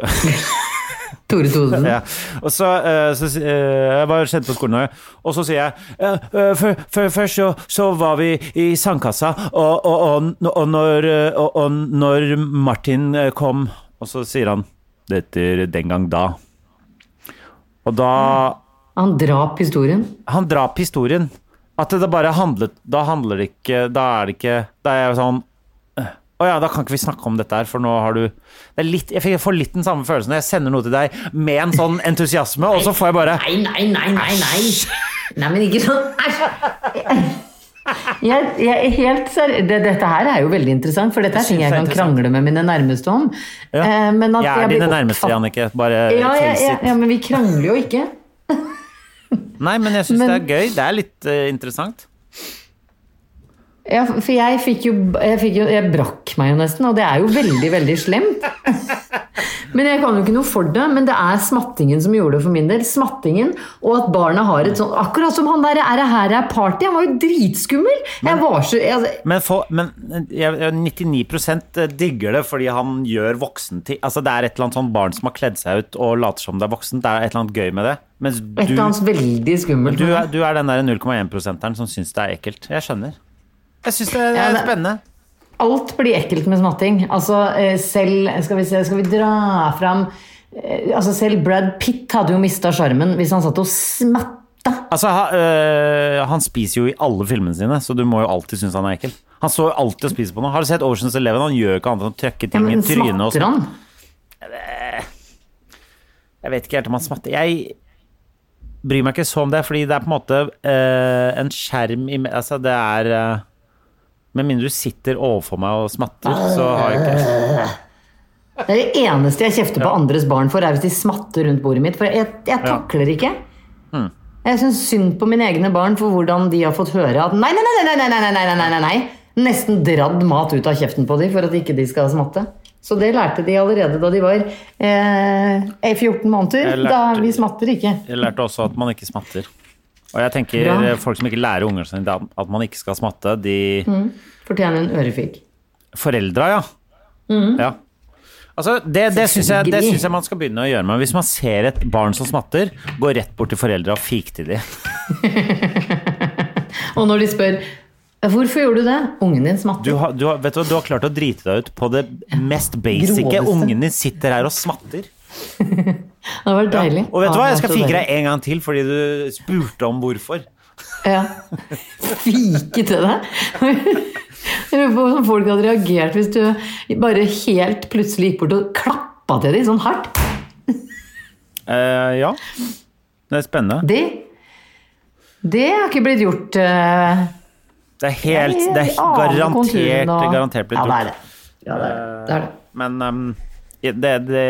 [SPEAKER 1] Tore Todesen.
[SPEAKER 2] ja. Og så, eh, så si- eh, Jeg var kjent på skolen, også, og så sier jeg eh, eh, før- før- Først så, så var vi i sandkassa, og, og, og, og, når, eh, og, og når Martin eh, kom Og så sier han Dette den gang da. Og da
[SPEAKER 1] Han drap historien.
[SPEAKER 2] han drap historien. At det bare handlet Da handler det ikke Da er det ikke Da er jeg sånn «Øh, Å ja, da kan ikke vi snakke om dette her, for nå har du det er litt, Jeg fikk- jeg får litt den samme følelsen når jeg sender noe til deg med en sånn entusiasme, og så får jeg bare
[SPEAKER 1] Nei, nei, nei, nei, nei. Nei, men ikke sånn. Æsj! Jeg, jeg er helt seri det, dette her er jo veldig interessant, for dette er ting
[SPEAKER 2] synes
[SPEAKER 1] jeg
[SPEAKER 2] det er
[SPEAKER 1] kan
[SPEAKER 2] interessant.
[SPEAKER 1] krangle med mine nærmeste om.
[SPEAKER 2] ja,
[SPEAKER 1] Eh, men at
[SPEAKER 2] Jeg er
[SPEAKER 1] blir
[SPEAKER 2] dine nærmeste,
[SPEAKER 1] oppfatt-
[SPEAKER 2] Jannicke. Bare
[SPEAKER 1] Ja, ja,
[SPEAKER 2] face
[SPEAKER 1] ja,
[SPEAKER 2] it.
[SPEAKER 1] ja, men vi krangler jo ikke.
[SPEAKER 2] Nei, men jeg syns det
[SPEAKER 1] Men-
[SPEAKER 2] er gøy. Det er litt eh, interessant.
[SPEAKER 1] Ja, for jeg fikk jo jeg, fikk jo jeg brakk meg jo nesten, og det er jo veldig, veldig slemt. Men jeg kan jo ikke noe for det, men det er smattingen som gjorde det for min del. Smattingen, og at barna har et sånt Akkurat som han der er det her er party. Han var jo dritskummel! Jeg var så jeg,
[SPEAKER 2] Men, få- men jeg, jeg- 99 digger det fordi han gjør voksen til Altså, det er et eller annet sånn barn som har kledd seg ut og later som det er voksen. Det er et eller annet gøy med det. Mens
[SPEAKER 1] Et eller
[SPEAKER 2] du
[SPEAKER 1] annet veldig skummelt.
[SPEAKER 2] Du er, du er den der 0,1-prosenteren som syns det er ekkelt. Jeg skjønner. Jeg syns det er
[SPEAKER 1] Ja, det-
[SPEAKER 2] spennende.
[SPEAKER 1] Alt blir ekkelt med smatting. Altså, eh, selv Skal vi se, skal vi dra fram eh, Altså, selv Brad Pitt hadde jo mista sjarmen hvis han satt og smatta.
[SPEAKER 2] Altså, ha, øh, han spiser jo i alle filmene sine, så du må jo alltid synes han er ekkel. Han står jo alltid og spiser på noe. Har du sett Oceans Eleven? Han gjør jo ikke annet enn å trøkke
[SPEAKER 1] Ja,
[SPEAKER 2] ting i
[SPEAKER 1] men
[SPEAKER 2] trynet. Og
[SPEAKER 1] smatter
[SPEAKER 2] sånn.
[SPEAKER 1] han?
[SPEAKER 2] jeg vet ikke helt om han smatter. Jeg bryr meg ikke så om det, fordi det er på en måte øh, en skjerm i me- Altså, det er øh, Med mindre du sitter overfor meg og smatter, så har jeg ikke
[SPEAKER 1] Det er det eneste jeg kjefter på andres barn for, er hvis de smatter rundt bordet mitt. For jeg, jeg takler ikke.
[SPEAKER 2] Hmm.
[SPEAKER 1] Jeg syns synd på mine egne barn for hvordan de har fått høre at nei, nei, nei, nei, nei, nei, nei, nei, nei, nei, nei. Nesten dradd mat ut av kjeften på dem for at ikke de skal smatte. Så det lærte de allerede da de var eh, 14 måneder.
[SPEAKER 2] Jeg lærte-
[SPEAKER 1] Da vi smatter ikke.
[SPEAKER 2] Jeg lærte også at man ikke smatter. Og jeg tenker
[SPEAKER 1] Bra.
[SPEAKER 2] eh, folk som ikke lærer ungene sine at- at man ikke skal smatte, de
[SPEAKER 1] Fortjener en ørefik.
[SPEAKER 2] Foreldra, ja. ja. Altså, det det syns jeg, det
[SPEAKER 1] Mm. Selvfølgelig.
[SPEAKER 2] syns jeg man skal begynne å gjøre med. Hvis man ser et barn som smatter, gå rett bort til foreldra og fik til dem.
[SPEAKER 1] Og når de spør «Eh, Hvorfor gjorde du det? Ungen din smatter.
[SPEAKER 2] Du har, du, har, vet du, hva, du har klart å drite deg ut på det mest basice.
[SPEAKER 1] Groveste.
[SPEAKER 2] Ungen din sitter her og smatter.
[SPEAKER 1] Det var deilig.
[SPEAKER 2] Og vet du hva, jeg skal
[SPEAKER 1] Ja,
[SPEAKER 2] fike
[SPEAKER 1] det
[SPEAKER 2] deg en gang til fordi du spurte om hvorfor.
[SPEAKER 1] var deilig. Ja. Fike til deg? Jeg lurer på hvordan folk hadde reagert hvis du bare helt plutselig gikk bort og klappa til dem sånn hardt.
[SPEAKER 2] Eh, ja. Det er spennende.
[SPEAKER 1] Det, det har ikke blitt gjort eh,
[SPEAKER 2] Det er helt Det er
[SPEAKER 1] i alle
[SPEAKER 2] garantert,
[SPEAKER 1] konturene og-
[SPEAKER 2] garantert blitt
[SPEAKER 1] Ja, det er
[SPEAKER 2] gjort.
[SPEAKER 1] det. Ja, det, er det. det, er det.
[SPEAKER 2] Men ehm, det, det,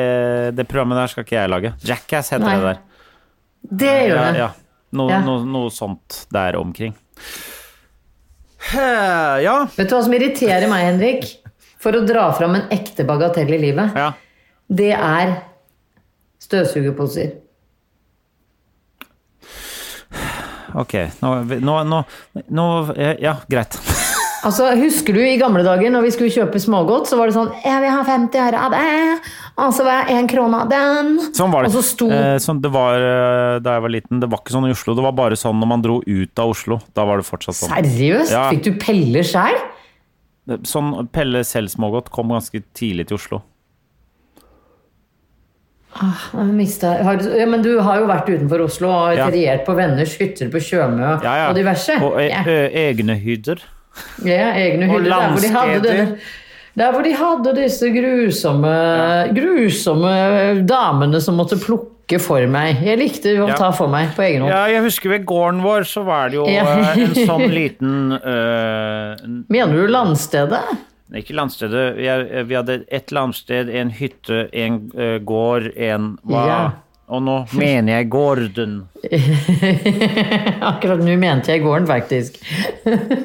[SPEAKER 2] det programmet der skal ikke jeg lage. Jackass heter
[SPEAKER 1] Nei.
[SPEAKER 2] Eh, det der. Eh,
[SPEAKER 1] det gjør
[SPEAKER 2] Ja,
[SPEAKER 1] det.
[SPEAKER 2] ja. Noe,
[SPEAKER 1] Ja.
[SPEAKER 2] Noe, noe sånt der omkring. Eh, Ja.
[SPEAKER 1] Vet du hva som irriterer meg, Henrik? For å dra fram en ekte bagatell i livet.
[SPEAKER 2] ja.
[SPEAKER 1] Det er støvsugerposer.
[SPEAKER 2] Ok. Nå, nå, nå, nå Ja, greit. <laughs>
[SPEAKER 1] Altså, Husker du i gamle dager når vi skulle kjøpe smågodt, så var det sånn Jeg vil ha 50 øre av det, og så var jeg én krone av den.
[SPEAKER 2] Sånn var det.
[SPEAKER 1] Og så sto
[SPEAKER 2] Eh, sånn, det var, eh, da jeg var liten, det var ikke sånn i Oslo. Det var bare sånn når man dro ut av Oslo. Da var det fortsatt sånn.
[SPEAKER 1] Seriøst?
[SPEAKER 2] Ja.
[SPEAKER 1] Fikk du peller sjæl?
[SPEAKER 2] Sånn Pelle selv smågodt kom ganske tidlig til Oslo.
[SPEAKER 1] Ja, men du har jo vært utenfor Oslo og
[SPEAKER 2] Ja.
[SPEAKER 1] feriert på venners hytter på Tjøme og,
[SPEAKER 2] Ja, ja.
[SPEAKER 1] og diverse.
[SPEAKER 2] Og e
[SPEAKER 1] Ja.
[SPEAKER 2] ø egne hyder.
[SPEAKER 1] Ja, egne
[SPEAKER 2] Og
[SPEAKER 1] hyller. Der hvor de hadde
[SPEAKER 2] landsteder.
[SPEAKER 1] denne- der hvor de hadde disse grusomme, grusomme eh, damene som måtte plukke for meg. Jeg likte å
[SPEAKER 2] Ja.
[SPEAKER 1] ta for meg på egen hånd.
[SPEAKER 2] Ja, jeg husker ved gården vår så var det jo
[SPEAKER 1] Ja.
[SPEAKER 2] eh,
[SPEAKER 1] <laughs>
[SPEAKER 2] en sånn liten eh, n-
[SPEAKER 1] Mener du landstedet?
[SPEAKER 2] Ikke landstedet. Vi, er, eh, vi hadde et landsted, en hytte, en eh, gård, en hva?
[SPEAKER 1] Ja.
[SPEAKER 2] Og nå mener jeg gården.
[SPEAKER 1] <laughs> Akkurat nå mente jeg gården, faktisk.
[SPEAKER 2] <laughs>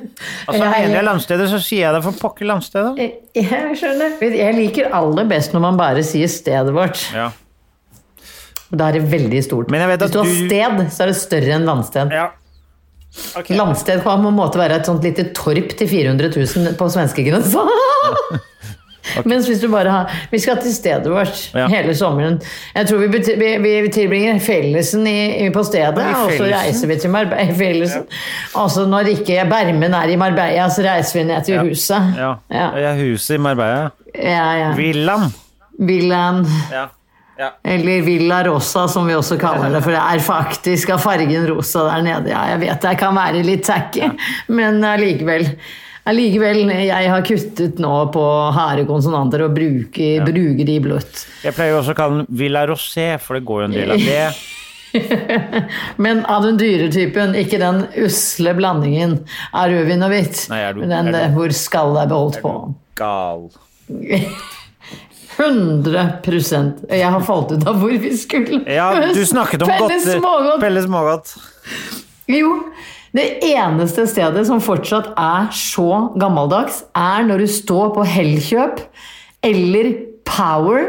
[SPEAKER 2] Altså,
[SPEAKER 1] Jeg-
[SPEAKER 2] mener jeg landstedet, så sier jeg det for pokker landstedet.
[SPEAKER 1] Jeg jeg skjønner. Jeg liker aller best når man bare sier stedet vårt.
[SPEAKER 2] Ja.
[SPEAKER 1] Og Da er det veldig stort.
[SPEAKER 2] Men jeg vet
[SPEAKER 1] Hvis
[SPEAKER 2] at
[SPEAKER 1] du har
[SPEAKER 2] du-
[SPEAKER 1] sted, så er det større enn landsted.
[SPEAKER 2] ja. Ok.
[SPEAKER 1] Landsted kan på en måte være et sånt lite torp til 400 000 på
[SPEAKER 2] <laughs>
[SPEAKER 1] svenskegrensa. <laughs> Mens hvis du bare har Vi skal til stedet vårt
[SPEAKER 2] Ja.
[SPEAKER 1] hele sommeren. Jeg tror vi, beti- vi, vi tilbringer fellesen i, i, på stedet,
[SPEAKER 2] I
[SPEAKER 1] og så
[SPEAKER 2] Fellesen?
[SPEAKER 1] reiser vi til Marbella. i Fellesen. Altså når ikke Bermen er i Marbella, så reiser vi ned til huset.
[SPEAKER 2] Ja.
[SPEAKER 1] Ja.
[SPEAKER 2] Jeg er huset i Marbella.
[SPEAKER 1] Ja, ja.
[SPEAKER 2] Villaen.
[SPEAKER 1] Villaen,
[SPEAKER 2] Ja.
[SPEAKER 1] eller Villa Rosa som vi også kaller det, for det er faktisk av fargen rosa der nede. Ja, jeg vet det kan være litt tacky, men allikevel. Allikevel, jeg har kuttet nå på harde konsonanter og bruker, bruker de bløtt.
[SPEAKER 2] Jeg pleier jo også å kalle den Villa Rosé, for det går jo en del av det.
[SPEAKER 1] Men av den dyre typen, ikke den usle blandingen av rødvin og hvitt.
[SPEAKER 2] Nei, er du-
[SPEAKER 1] men den
[SPEAKER 2] er du-
[SPEAKER 1] eh, hvor skallet er beholdt på.
[SPEAKER 2] Gal.
[SPEAKER 1] 100 Jeg har falt ut av hvor vi skulle.
[SPEAKER 2] Ja, du snakket om
[SPEAKER 1] Pelle
[SPEAKER 2] godter.
[SPEAKER 1] Smågodt.
[SPEAKER 2] Pelle Smågodt.
[SPEAKER 1] Jo, det eneste stedet som fortsatt er så gammeldags, er når du står på Hellkjøp eller Power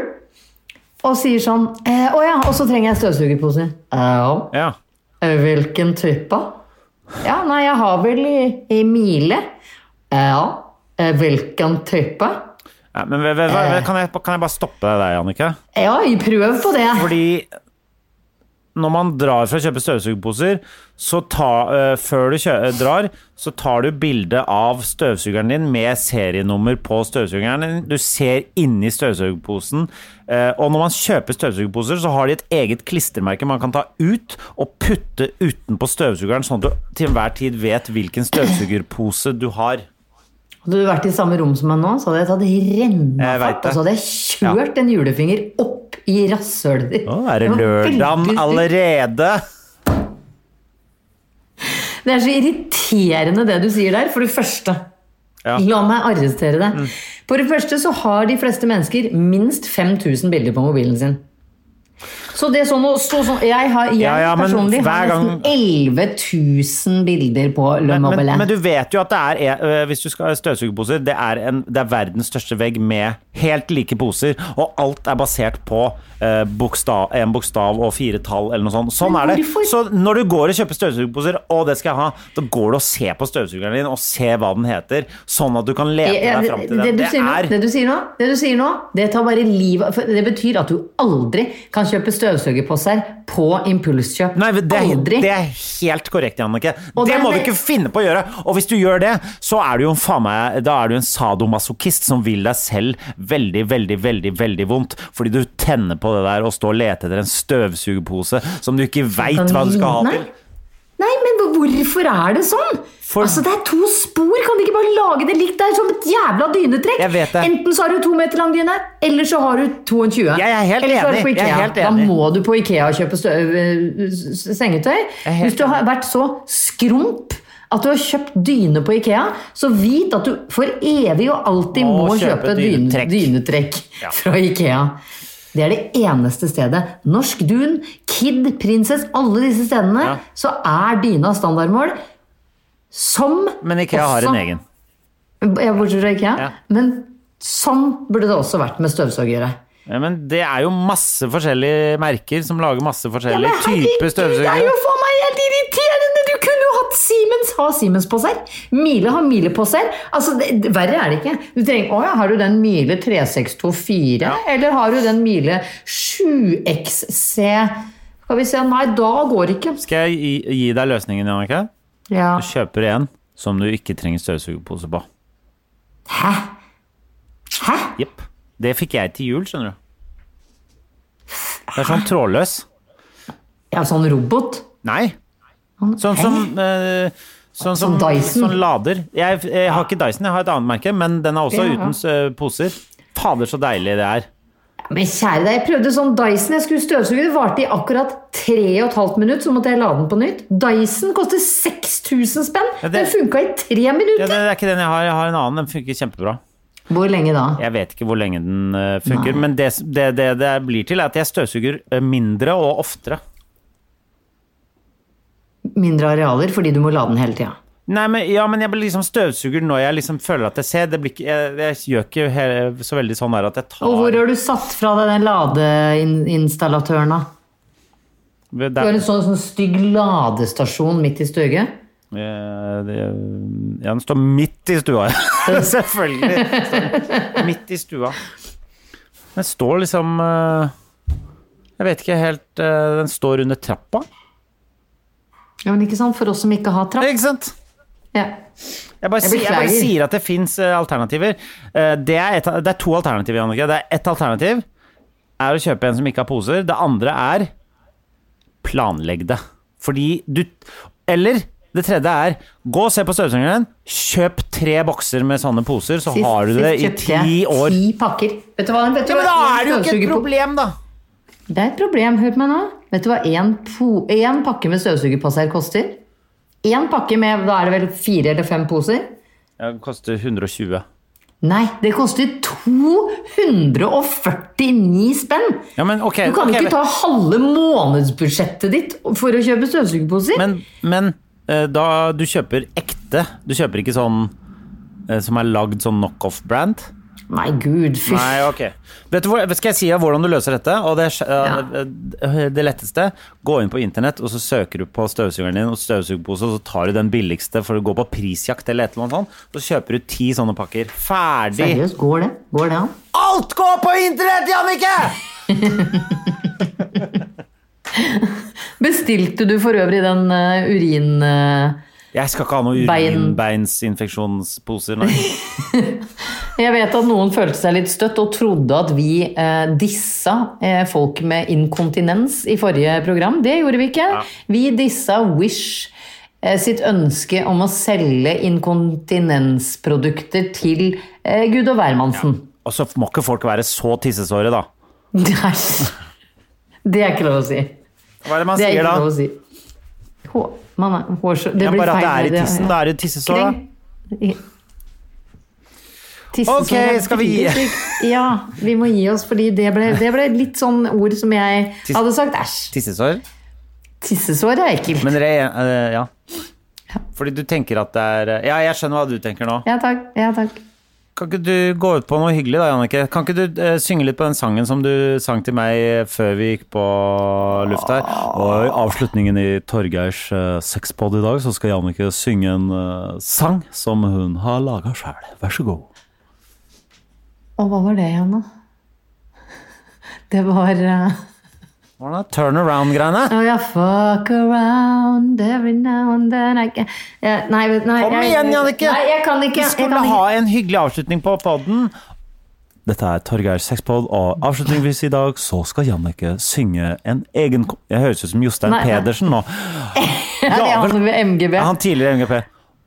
[SPEAKER 1] og sier sånn eh, 'Å ja, og så trenger jeg støvsugerpose'. Ja.
[SPEAKER 2] Ja.
[SPEAKER 1] Eh, Hvilken type? Ja, nei, jeg har vel i, i mile. Ja. Eh, Hvilken type?
[SPEAKER 2] Ja, men vet- vet- vet- kan, jeg, kan jeg bare stoppe deg der, Jannicke?
[SPEAKER 1] Ja, prøv på det.
[SPEAKER 2] Fordi når man drar for å kjøpe støvsugerposer, så ta, eh, før du kjø drar, så tar du bilde av støvsugeren din med serienummer på støvsugeren din. Du ser inni støvsugerposen. eh, og når man kjøper støvsugerposer, så har de et eget klistremerke man kan ta ut og putte utenpå støvsugeren, sånn at du til enhver tid vet hvilken støvsugerpose du har.
[SPEAKER 1] Hadde du vært i samme rom som meg nå, så hadde jeg tatt
[SPEAKER 2] Jeg vet
[SPEAKER 1] rennafart,
[SPEAKER 2] det.
[SPEAKER 1] og så hadde jeg kjørt en julefinger opp i rasshølet ditt.
[SPEAKER 2] Nå er det
[SPEAKER 1] var
[SPEAKER 2] lørdagen
[SPEAKER 1] veldig-
[SPEAKER 2] allerede!
[SPEAKER 1] Det er så irriterende det du sier der, for det første.
[SPEAKER 2] Ja. Mm.
[SPEAKER 1] La meg arrestere deg. For det første så har de fleste mennesker minst 5000 bilder på mobilen sin. Så det er sånn å stå sånn Jeg, har, jeg
[SPEAKER 2] Ja, ja, men
[SPEAKER 1] personlig
[SPEAKER 2] hver
[SPEAKER 1] har
[SPEAKER 2] gang-
[SPEAKER 1] nesten 11 000 bilder på Le
[SPEAKER 2] Men, men,
[SPEAKER 1] Mobile.
[SPEAKER 2] men du vet jo at det er eh, Hvis du skal ha støvsugerposer, det er, en, det er verdens største vegg med helt like poser, og alt er basert på eh, bokstav, en bokstav og fire tall eller noe sånt. Sånn
[SPEAKER 1] Men
[SPEAKER 2] er det.
[SPEAKER 1] hvorfor-
[SPEAKER 2] Så når du går og kjøper støvsugerposer, og det skal jeg ha, da går du og ser på støvsugeren din og ser hva den heter, sånn at du kan lete
[SPEAKER 1] Ja,
[SPEAKER 2] deg fram til
[SPEAKER 1] det,
[SPEAKER 2] den.
[SPEAKER 1] du
[SPEAKER 2] Det
[SPEAKER 1] sier nå,
[SPEAKER 2] er
[SPEAKER 1] det du sier nå, det du sier nå, det tar bare livet av for Det betyr at du aldri kan kjøpe støvsugerposer på impulskjøp.
[SPEAKER 2] Nei, det er,
[SPEAKER 1] Aldri.
[SPEAKER 2] det er helt korrekt, Jannicke.
[SPEAKER 1] Og
[SPEAKER 2] Det
[SPEAKER 1] det er
[SPEAKER 2] må du
[SPEAKER 1] det-
[SPEAKER 2] ikke finne på å gjøre! Og hvis du gjør det, så er du jo en faen meg Da er du en sadomasochist som vil deg selv veldig, veldig, veldig veldig vondt. Fordi du tenner på det der å stå og lete etter en støvsugerpose som du ikke veit hva du skal ha
[SPEAKER 1] Nei.
[SPEAKER 2] til.
[SPEAKER 1] Nei, men hvor- hvorfor er det sånn?
[SPEAKER 2] For-
[SPEAKER 1] Altså, Det er to spor, kan de ikke bare lage det likt? Det er som et jævla dynetrekk.
[SPEAKER 2] Jeg vet det.
[SPEAKER 1] Enten så har du to meter lang dyne, eller så har du 22.
[SPEAKER 2] Jeg er helt
[SPEAKER 1] eller så er du på
[SPEAKER 2] enig. Jeg er
[SPEAKER 1] Ikea.
[SPEAKER 2] helt
[SPEAKER 1] Da
[SPEAKER 2] enig.
[SPEAKER 1] må du på Ikea og kjøpe støv, øh, s- sengetøy.
[SPEAKER 2] er helt
[SPEAKER 1] Hvis du har vært så skrump at du har kjøpt dyne på Ikea, så vit at du for evig og alltid
[SPEAKER 2] Må
[SPEAKER 1] må,
[SPEAKER 2] kjøpe
[SPEAKER 1] kjøpe dyne-
[SPEAKER 2] dynetrekk.
[SPEAKER 1] dynetrekk fra Ikea. Det er det eneste stedet. Norsk Dun, Kid, Princess, alle disse stedene,
[SPEAKER 2] Ja.
[SPEAKER 1] så er dyna standardmål. Som
[SPEAKER 2] Men Ikea har en egen.
[SPEAKER 1] Ja, bortsett fra Ikea.
[SPEAKER 2] Ja.
[SPEAKER 1] Men sånn burde det også vært med støvsugere.
[SPEAKER 2] Ja, men det er jo masse forskjellige merker som lager masse
[SPEAKER 1] Men
[SPEAKER 2] forskjellige
[SPEAKER 1] herregud,
[SPEAKER 2] typer
[SPEAKER 1] Det er jo
[SPEAKER 2] støvsugere.
[SPEAKER 1] for meg helt irriterende! Du kunne jo hatt Siemens ha Siemens-poser. Miele har Miele-poser. Altså, det, det, verre er det ikke. Du trenger, å ja, Har du den Miele 3624, eller har du den Miele 7XC? Skal vi se, nei, da går ikke.
[SPEAKER 2] Skal jeg gi, gi deg løsningen, Jannicke?
[SPEAKER 1] Ja.
[SPEAKER 2] Du kjøper en som du ikke trenger støvsugerpose på.
[SPEAKER 1] Hæ? Hæ?
[SPEAKER 2] Jepp. Det fikk jeg til jul, skjønner du. Det er sånn trådløs.
[SPEAKER 1] Ja, sånn robot?
[SPEAKER 2] Nei. Sånn som eh, Sånn som
[SPEAKER 1] Som Dyson?
[SPEAKER 2] Sånn lader. Jeg, jeg har ikke Dyson, jeg har et annet merke, men den er også
[SPEAKER 1] Ja, ja.
[SPEAKER 2] uten eh, poser. Fader, så deilig det er.
[SPEAKER 1] Men kjære deg, jeg prøvde sånn Dyson. Jeg skulle støvsuge. Det varte i akkurat 3,5 minutt, så måtte jeg lade den på nytt. Dyson koster 6000 spenn!
[SPEAKER 2] Ja, det-
[SPEAKER 1] Den funka i tre
[SPEAKER 2] Ja,
[SPEAKER 1] minutter!
[SPEAKER 2] det er ikke den jeg har. Jeg har en annen. Den funker kjempebra.
[SPEAKER 1] Hvor lenge da?
[SPEAKER 2] Jeg vet ikke hvor lenge den eh, funker, men det det, det det blir til, er at jeg støvsuger eh, mindre og oftere.
[SPEAKER 1] Mindre arealer fordi du må lade den hele tida.
[SPEAKER 2] Nei, men, ja, men jeg blir liksom støvsuger når jeg liksom føler at jeg ser. Det blir ikke, jeg, jeg gjør ikke he- så veldig sånn der at jeg tar
[SPEAKER 1] Og hvor har du satt fra deg den ladeinstallatøren, da?
[SPEAKER 2] Ved-
[SPEAKER 1] Du har
[SPEAKER 2] der-
[SPEAKER 1] en sånn, sånn stygg ladestasjon midt i stuget.
[SPEAKER 2] Eh, det- Ja, den står midt i
[SPEAKER 1] <laughs>
[SPEAKER 2] stua. <laughs> Selvfølgelig. Står midt i stua. Den står liksom eh, Jeg vet ikke helt eh, Den står under trappa,
[SPEAKER 1] Ja, men ikke sant? For oss som ikke har trapp.
[SPEAKER 2] ikke sant?
[SPEAKER 1] Ja.
[SPEAKER 2] Jeg bare,
[SPEAKER 1] Jeg
[SPEAKER 2] sier, jeg bare
[SPEAKER 1] beklager.
[SPEAKER 2] sier at det fins alternativer. Eh, Det er, et, det er to alternativer, Jannicke. Det er ett alternativ er å kjøpe en som ikke har poser. Det andre er planlegg det. Fordi du Eller det tredje er gå og se på støvsugeren din, kjøp tre bokser med sånne poser, så
[SPEAKER 1] Sist-
[SPEAKER 2] har du
[SPEAKER 1] sist
[SPEAKER 2] det i
[SPEAKER 1] kjøpte jeg
[SPEAKER 2] ti år.
[SPEAKER 1] Ti pakker. Vet du hva? Vet du
[SPEAKER 2] Ja, men da
[SPEAKER 1] hva-
[SPEAKER 2] er det jo ikke
[SPEAKER 1] støvsuger
[SPEAKER 2] et
[SPEAKER 1] på-
[SPEAKER 2] problem, da!
[SPEAKER 1] Det er et problem, hør på meg nå. Vet du hva én po- én pakke med støvsugerpasser koster? Én pakke med da er det vel fire eller fem poser?
[SPEAKER 2] Ja, Det koster 120.
[SPEAKER 1] Nei, det koster 249 spenn!
[SPEAKER 2] Ja, men ok.
[SPEAKER 1] Du kan
[SPEAKER 2] ok,
[SPEAKER 1] ikke ta halve månedsbudsjettet ditt for å kjøpe støvsugerposer.
[SPEAKER 2] Men, men eh, da du kjøper ekte Du kjøper ikke sånn eh, som er lagd sånn knockoff-brand?
[SPEAKER 1] Nei, gud, fy.
[SPEAKER 2] Nei, ok. Vet du hvor, skal jeg si deg hvordan du løser dette? Og det, er- eh, det letteste Gå inn på internett, og så søker du på støvsugeren din og støvsugerpose, og så tar du den billigste for å gå på prisjakt eller et eller annet sånt. Så kjøper du ti sånne pakker. Ferdig!
[SPEAKER 1] Seriøst, går det? Går det an?
[SPEAKER 2] Alt går på internett, Jannicke!
[SPEAKER 1] Bestilte du for øvrig den eh, urin... eh,
[SPEAKER 2] Jeg skal ikke ha noen
[SPEAKER 1] Bein.
[SPEAKER 2] urinbeinsinfeksjonsposer, nei.
[SPEAKER 1] Jeg vet at noen følte seg litt støtt og trodde at vi eh, dissa eh, folk med inkontinens i forrige program. Det gjorde vi ikke. Vi dissa Wish eh, sitt ønske om å selge inkontinensprodukter til eh, Gud og hvermannsen.
[SPEAKER 2] Og så må ikke folk være så tissesåre, da.
[SPEAKER 1] <laughs> Nei, Det er ikke lov å si.
[SPEAKER 2] Hva er det man
[SPEAKER 1] Det er
[SPEAKER 2] sier
[SPEAKER 1] ikke lov
[SPEAKER 2] da?
[SPEAKER 1] å si. Hå, man er, hårsår, det
[SPEAKER 2] Ja,
[SPEAKER 1] blir
[SPEAKER 2] bare
[SPEAKER 1] feil.
[SPEAKER 2] at det er i tissen. Da er det tissesår, da.
[SPEAKER 1] Tissesår
[SPEAKER 2] Ok,
[SPEAKER 1] er
[SPEAKER 2] skal vi gi-
[SPEAKER 1] veldig stygt. <laughs> Ja, vi må gi oss, fordi det ble, det ble litt sånn ord som jeg
[SPEAKER 2] Tiss-
[SPEAKER 1] hadde sagt æsj.
[SPEAKER 2] Tissesår?
[SPEAKER 1] Tissesår er ekkelt.
[SPEAKER 2] Men dere, eh, ja. Fordi du tenker at det er eh, Ja, jeg skjønner hva du tenker nå.
[SPEAKER 1] Ja takk. ja takk.
[SPEAKER 2] Kan ikke du gå ut på noe hyggelig da, Jannicke? Kan ikke du eh, synge litt på den sangen som du sang til meg eh, før vi gikk på luft her? Og i avslutningen i Torgeirs uh, sexpod i dag, så skal Jannicke synge en eh, sang som hun har laga sjæl. Vær så god.
[SPEAKER 1] <laughs> Og hva var det igjen, da? Det var eh,
[SPEAKER 2] Hvordan er turnaround-greiene?
[SPEAKER 1] Oh, yeah, fuck around every now and then I can... ja, nei, vet- nei,
[SPEAKER 2] Kom
[SPEAKER 1] jeg-
[SPEAKER 2] igjen, Jannicke!
[SPEAKER 1] Nei, jeg kan ikke.
[SPEAKER 2] Vi
[SPEAKER 1] jeg
[SPEAKER 2] skulle
[SPEAKER 1] kan
[SPEAKER 2] ha
[SPEAKER 1] ikke.
[SPEAKER 2] en hyggelig avslutning på podden. Dette er Torgeir Sexpod, og avslutningsvis i dag så skal Jannicke synge en egen ko- Jeg høres ut som Jostein
[SPEAKER 1] Nei, nei.
[SPEAKER 2] Pedersen
[SPEAKER 1] <laughs>
[SPEAKER 2] nå.
[SPEAKER 1] Ja, det er han med MGB.
[SPEAKER 2] Han tidligere MGP.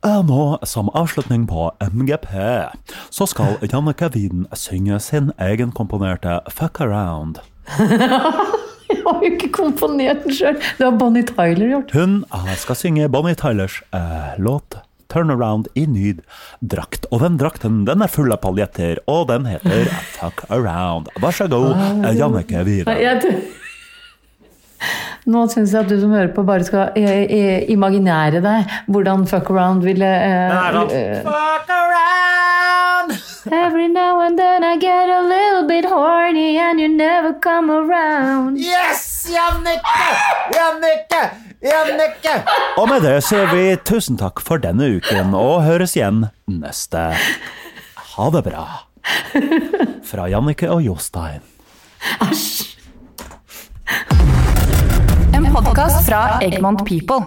[SPEAKER 2] Og Nå, som avslutning på MGP, så skal Jannicke Wien synge sin egenkomponerte Fuck Around.
[SPEAKER 1] <laughs> Jeg har jo ikke komponert den sjøl. Det har Bonnie Tyler gjort.
[SPEAKER 2] Hun eh, skal synge Bonnie Tylers eh, låt 'Turnaround' i ny drakt. Og den drakten den er full av paljetter, og den heter 'Fuck Around'. Vær så god, eh, Jannicke
[SPEAKER 1] Nei,
[SPEAKER 2] Wiere.
[SPEAKER 1] jeg tror... Nå syns jeg at du som hører på, bare skal eh, eh, imaginære deg hvordan fuck around ville eh, eh,
[SPEAKER 2] Fuck around!
[SPEAKER 1] Every now and then I get a little bit horny and you never come around.
[SPEAKER 2] Yes, Jannicke! Jannicke! Jannicke! Og med det sier vi tusen takk for denne uken, og høres igjen neste. Ha det bra. Fra Jannicke og Jostein.
[SPEAKER 7] En podkast fra Egmont People.